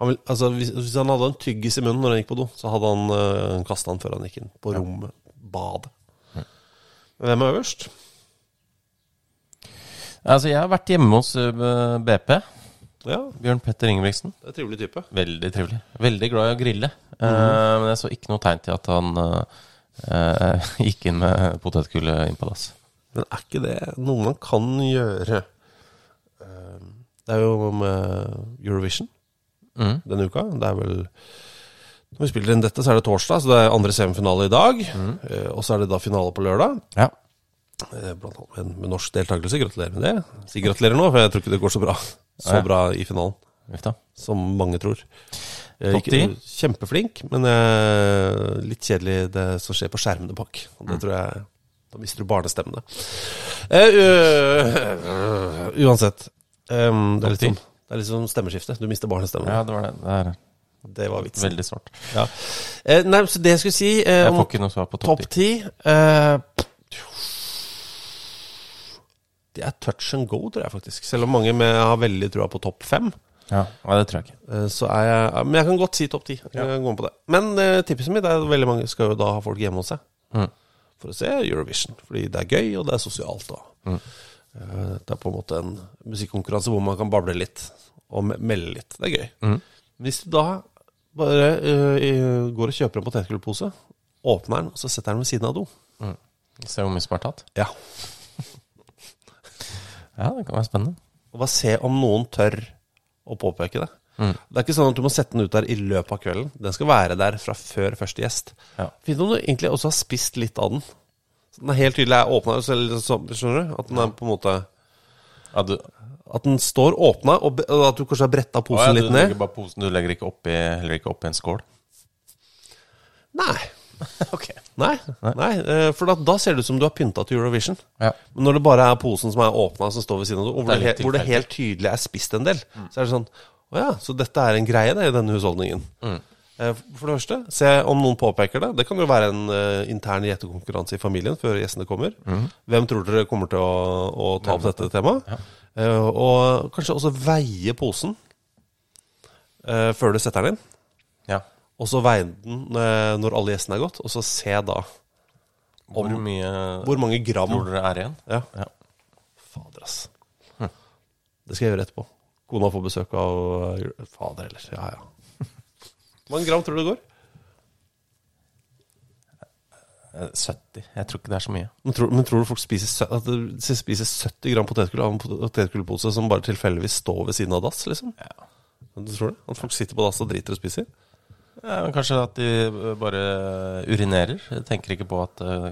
C: Han vil, altså, hvis, hvis han hadde en tyggis i munnen når han gikk på do, så hadde han uh, kasta den før han gikk inn på rommet, badet. Hvem er øverst?
D: Altså, jeg har vært hjemme hos eh, BP.
C: Ja,
D: Bjørn Petter Ingebrigtsen.
C: det er en trivelig type.
D: Veldig trivelig. Veldig glad i å grille. Eh, men jeg så ikke noe tegn til at han eh, eh, gikk inn med potetgullet inn på dass.
C: Men er ikke det noe man kan gjøre? Eh, Det er jo med Eurovision
D: Mm.
C: denne uka. Det er vel Når vi spiller inn dette, så er det torsdag, så det er andre semifinale i dag.
D: Mhm.
C: Eh, Og så er det da finale på lørdag,
D: Ja.
C: eh, blant annet med, med norsk deltakelse. Gratulerer med det. Si gratulerer nå, for jeg tror ikke det går så bra, så
D: Ja.
C: bra i finalen.
D: Uff da.
C: Som mange tror. Eh,
D: Topp ti?
C: ikke- Kjempeflink, men eh, litt kjedelig det som skjer på skjermene bak. Og
D: Mm.
C: det tror jeg Da mister du barnestemmene. Eh, øh, øh, uansett. em, det, er litt
D: Topp ti?
C: som, det er litt som stemmeskifte. Du mister
D: Ja,
C: barnestemmene.
D: det var det. Det er
C: Det var vitsen.
D: veldig svart.
C: Ja. Eh, nei, så det jeg skulle si eh,
D: Jeg
C: om
D: får ikke noe svar på topp
C: topp
D: ti.
C: ti eh, Det er touch and go, tror jeg faktisk. Selv om mange med, har veldig trua på topp fem.
D: Ja, nei, det tror jeg ikke.
C: Eh, Så er jeg ja, Men jeg kan godt si topp ti.
D: Ja.
C: Jeg kan gå med på det. Men eh, tipset mitt er at veldig mange skal jo da ha folk hjemme hos seg
D: Mm.
C: for å se Eurovision. Fordi det er gøy, og det er sosialt. Og. Eh, Det er på en måte en musikkonkurranse hvor man kan bable litt og me- melde litt. Det er gøy. Hvis du da bare eh, i- går og kjøper en potetgullpose, åpner den, og så setter den ved siden av do
D: Se hvor mye som er tatt.
C: Ja.
D: Ja, det kan være spennende.
C: Og bare se om noen tør å påpeke det. Mm. Det er ikke sånn at du må sette den ut der i løpet av kvelden. Den skal være der fra før første gjest.
D: Ja.
C: Fint om du egentlig også har spist litt av den. Så den er helt tydelig er åpna. Skjønner du? At den er på en måte
D: Ja, du,
C: At den står åpna, og be- og at du kanskje har bretta posen
D: Å ja,
C: litt
D: du
C: ned.
D: legger bare posen, du legger ikke oppi, heller ikke oppi en skål.
C: Nei.
D: ok.
C: Nei, nei. eh, for da, da ser det ut som du har pynta til Eurovision.
D: Ja.
C: Men når det bare er posen som er åpna, som står ved siden av, og hvor
D: Det er
C: det,
D: litt
C: he- hvor det
D: tilfeldig. Mm.
C: helt tydelig er spist en del, så er det sånn Å ja, så dette er en greie det, i denne husholdningen.
D: Mm.
C: Eh, For det første, se om noen påpeker det. Det kan jo være en eh, intern gjettekonkurranse i familien før gjestene kommer.
D: Mm.
C: Hvem tror dere kommer til å, å ta opp dette temaet? Eh, og kanskje også veie posen eh, før du setter den inn.
D: Ja.
C: Og så veie den eh, når alle gjestene er gått, og så se da
D: Hvor mye
C: hvor mange gram
D: tror dere er igjen?
C: Ja.
D: Ja. Hm.
C: Fader, ass. Det skal jeg gjøre etterpå. Kona får besøk av eh, Fader heller. Ja, ja. Hvor mange gram tror du det går?
D: Eh, 70. Jeg tror ikke det er så mye.
C: Men tror, men tror du folk spiser, sø- at de spiser 70 gram potetgull av en pot- potetgullpose som bare tilfeldigvis står ved siden av dass, liksom?
D: Ja.
C: Du tror det? At folk sitter på dass og driter og spiser?
D: Ja, men kanskje at de eh, bare urinerer. Jeg Tenker ikke på at eh,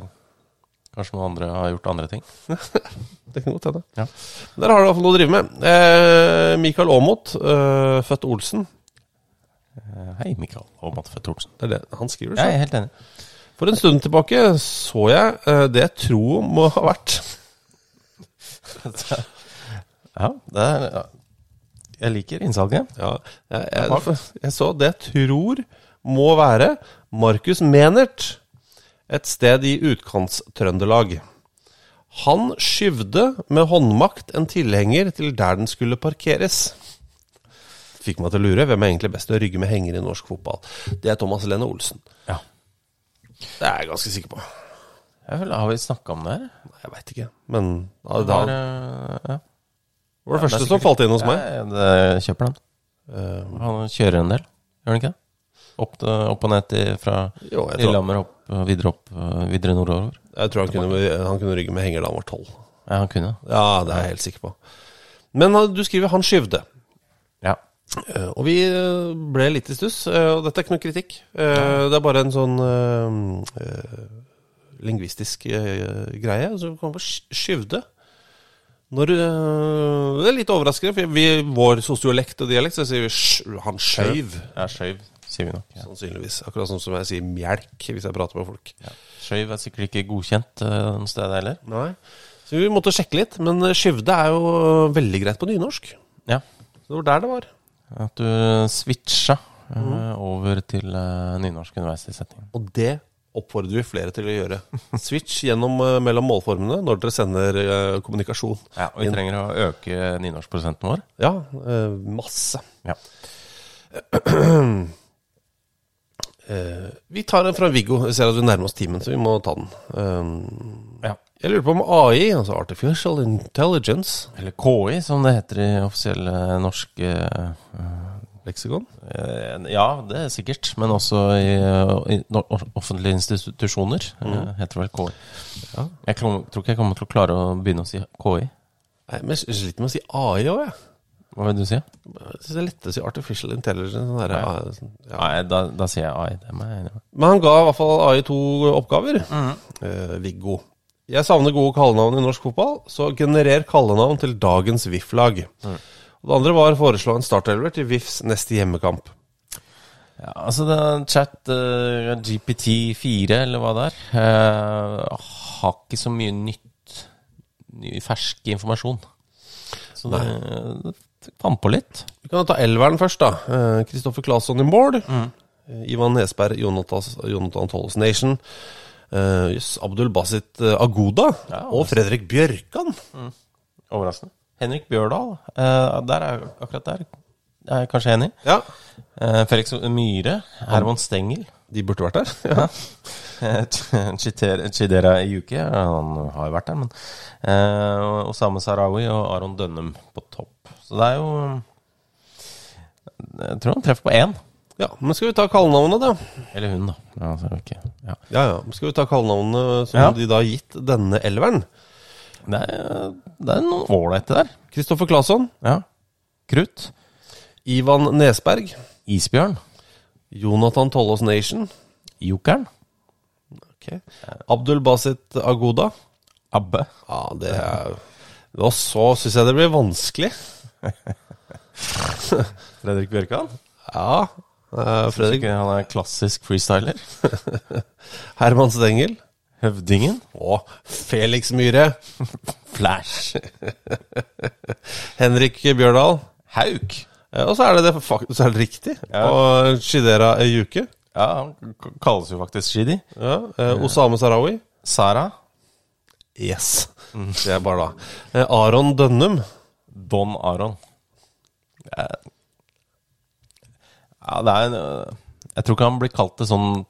D: kanskje noen andre har gjort andre ting.
C: Det kan godt hende.
D: Ja.
C: Der har du i hvert fall noe å drive med. Eh, Mikael Aamodt, eh, født Olsen.
D: Eh, Hei, Mikael og Matte Fett Olsen.
C: Det er det han skriver.
D: Jeg
C: selv.
D: er helt enig.
C: For en stund tilbake så jeg eh, det jeg tror må ha vært
D: Ja, det er, ja. Jeg liker innsalget.
C: Ja, jeg, jeg, jeg så det jeg tror må være Markus Menert, et sted i Utkantstrøndelag. Han skyvde med håndmakt en tilhenger til der den skulle parkeres. Fikk meg til å lure. Hvem er egentlig best til å rygge med henger i norsk fotball? Det er Thomas Lene Olsen.
D: Ja.
C: Det er jeg ganske sikker på.
D: Jeg føler, har vi snakka om det her?
C: Nei, Jeg veit ikke, men ja,
D: Det
C: da,
D: var, eh, ja.
C: det var det
D: Det
C: første
D: er
C: som
D: sikkert-
C: falt inn hos meg. Eh,
D: Ja, det kjøper den. Eh, han kjører en del, gjør han ikke det? Opp, til- opp og ned til, fra
C: Jo, jeg tror-
D: Lillehammer opp, eh, videre opp, videre nordover.
C: Jeg tror han kunne, han kunne rygge med henger da han var tolv.
D: Ja, han kunne.
C: Ja, det er jeg helt sikker på. Men han- du skriver 'han skyvde'.
D: Ja.
C: Eh, Og vi eh, ble litt i stuss, eh, og dette er ikke noe kritikk. Eh, Det er bare en sånn eh, eh, lingvistisk eh, greie. Så vi kommer på sk- skyvde. Når, eh, det er litt overraskende, for vi, vår sosiolekt og dialekt, så sier vi sj- 'han skjøv'.
D: Ja, skøyv, sier vi nok. Ja.
C: Sannsynligvis. Akkurat sånn som jeg sier 'mjelk' hvis jeg prater med folk.
D: Skøyv er sikkert ikke godkjent eh, noe sted heller.
C: Nei. Så vi måtte sjekke litt, men eh, skyvde er jo eh, veldig greit på nynorsk.
D: Ja.
C: Så det var der det var.
D: At du switcha eh, over til eh, nynorsk underveis i setningen.
C: Og det oppfordrer vi flere til å gjøre. Switch gjennom eh, mellom målformene når dere sender eh, kommunikasjon.
D: Ja, og vi trenger å øke nynorskprosenten vår.
C: Ja, eh, masse.
D: Ja.
C: Eh, vi tar den fra Viggo. Jeg ser at vi nærmer oss timen, så vi må ta den. Eh,
D: ja.
C: jeg lurer på om AI, altså Artificial Intelligence
D: Eller KI, som det heter i eh, offisielle norske
C: Leksikon?
D: Eh, Ja, det er sikkert. Men også i, eh, i no- offentlige institusjoner. eh, Heter det vel KI. Jeg klo- tror ikke jeg kommer til å klare å begynne å si KI.
C: Nei, men jeg sliter med å si AI òg, jeg.
D: Hva vil du si?
C: Jeg synes det er lettere å si Artificial Intelligence. Sånn der,
D: Ja.
C: eh, sånn, ja.
D: Nei, da, da sier jeg AI. Det må jeg enig med.
C: Men han ga i hvert fall AI to oppgaver. Eh, Viggo. Jeg savner gode kallenavn i norsk fotball, så generer kallenavn til dagens VIF-lag. Og Det andre var å foreslå en startelver til VIFs neste hjemmekamp.
D: Ja, altså, det er chat eh, GPT4, eller hva det er, eh, har ikke så mye nytt, ny, fersk informasjon. Så det, det fant på litt.
C: Vi kan ta elveren først, da. Eh, Kristoffer Claesson i mål. Eh, Ivan Nesberg, Jonatas, Jonathan Tolles Nation. eh, Jøss, Abdul Basit eh, Agoda.
D: Ja,
C: og Fredrik Bjørkan.
D: Overraskende. Henrik Bjørdal, eh, der er, akkurat der er jeg kanskje enig.
C: Ja,
D: Eh, Felix Myhre, Herman Stengel.
C: de burde vært der. Ja.
D: eh, Chiter- Chidera Yuki, han har jo vært der, men eh, og- Og Same Sarawi og Aron Dønnum på topp. Så det er jo eh, Jeg tror han treffer på én.
C: ja, Men skal vi ta kallenavnet, da?
D: Eller hun, da. Ja, så er det ikke- ja.
C: Ja, ja. Men Skal vi ta kallenavnene som
D: Ja.
C: de da har gitt denne elveren?
D: Det, er, det er noen ålreite der.
C: Kristoffer Claesson,
D: Ja. Krutt.
C: Ivan Nesberg.
D: Isbjørn.
C: Jonathan Tollås Nation.
D: Jokeren.
C: Okay. Abdul Basit Agoda.
D: Abbe.
C: Ja, det er Og så syns jeg det blir vanskelig.
D: Fredrik Bjørkan.
C: Ja. eh, Fredrik
D: Ikke han er klassisk freestyler.
C: Herman Stengel.
D: Høvdingen.
C: Og Felix Myhre.
D: Flash.
C: Henrik Bjørdal.
D: Hauk.
C: Eh, Og så er det det, fak- så er det riktig. Og Shidera Eyuke.
D: Ja, han k- kalles jo faktisk Shidi.
C: Ja. eh, Osame Sarawi.
D: Sara.
C: Yes. Det er bare da. Eh, Aron Dønnum.
D: Don Aron. Ja, det er en øh, Jeg tror ikke han blir kalt det sånn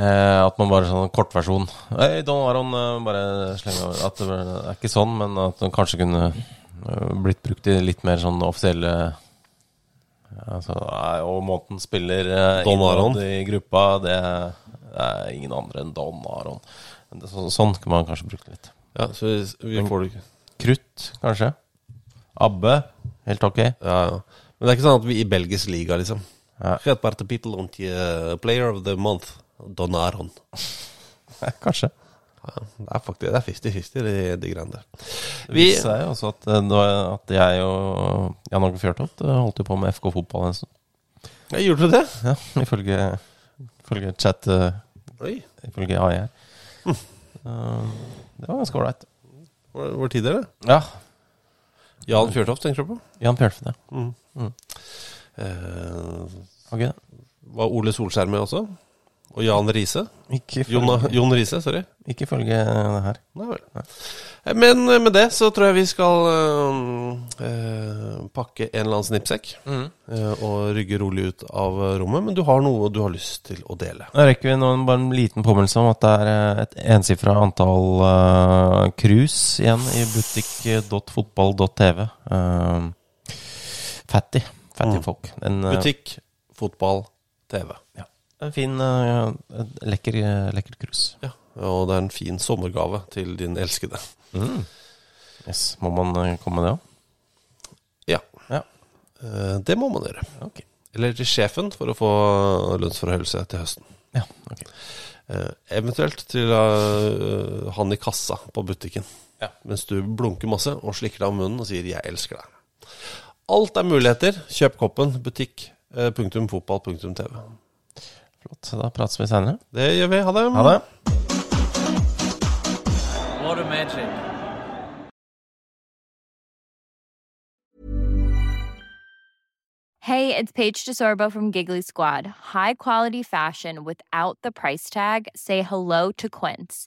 D: eh, at man bare sånn kortversjon Hei, Don Aron eh, bare slenger over. At det bare- det er ikke sånn, men at den kanskje kunne eh, blitt brukt i litt mer sånn offisielle ja, altså, nei, Og måten spiller eh,
C: Don Aron.
D: innad i gruppa, det er, det er ingen andre enn Don Aron. Det- så- Sånn kunne man kanskje brukt det litt.
C: Ja, så vi, vi får det ikke.
D: Krutt, kanskje. Abbe, helt ok.
C: Ja, ja. Men det er ikke sånn at vi i belgisk liga, liksom.
D: Ja.
C: Helt bare til Peter Lunt, eh, player of the month, Don Aron.
D: Kanskje.
C: Ja, det er faktisk det er 50-50, de, de greiene der.
D: Det viser seg jo også at, eh, nå er- at jeg og Jan Åge Fjørtoft eh, holdt jo på med FK fotball en stund.
C: Ja, gjorde du det?
D: Ja, ifølge, ifølge chat eh,
C: Oi,
D: Ifølge AI.
C: Hm.
D: Eh, Det var ganske ålreit.
C: hvor, hvor tid er det?
D: Ja.
C: Jan Fjørtoft tenker du på?
D: Jan Fjørtoft, ja.
C: Mm. Eh,
D: Ok, da.
C: var Ole Solskjær med også? Og Jan Riise?
D: Ikke ifølge-
C: Jon, Jon Riise, sorry.
D: Ikke ifølge det her.
C: Nei vel. Eh, Men eh, med det så tror jeg vi skal eh, eh, pakke en eller annen snippsekk eh, og rygge rolig ut av rommet. Men du har noe du har lyst til å dele.
D: Da rekker vi nå en- bare en liten påminnelse om at det er eh, et ensifra antall eh, krus igjen i butikk.fotball.tv. Eh, fattig. Fattige folk. En, eh,
C: Butikk, fotball, TV.
D: Ja. En fin, eh, en lekker, eh, lekker krus.
C: Ja, og det er en fin sommergave til din elskede.
D: Mm. Yes. Må man eh, komme med det òg?
C: Ja,
D: Ja.
C: eh, det må man gjøre.
D: Ok.
C: Eller til sjefen for å få lønnsforhøyelse til høsten.
D: Ja, ok.
C: Eh, eventuelt til eh, han i kassa på butikken. Mens du blunker masse og slikker deg om munnen og sier 'jeg elsker deg'. Alt er muligheter. Kjøp koppen. Butikk. eh, punktum fotball. Punktum TV.
D: Flott. Så Da prates vi seinere.
C: Det gjør vi. Ha det.
D: Ha det.
H: What a magic.
I: Hey, it's Paige DeSorbo from Giggly Squad. High quality fashion without the price tag. Say hello to Quince.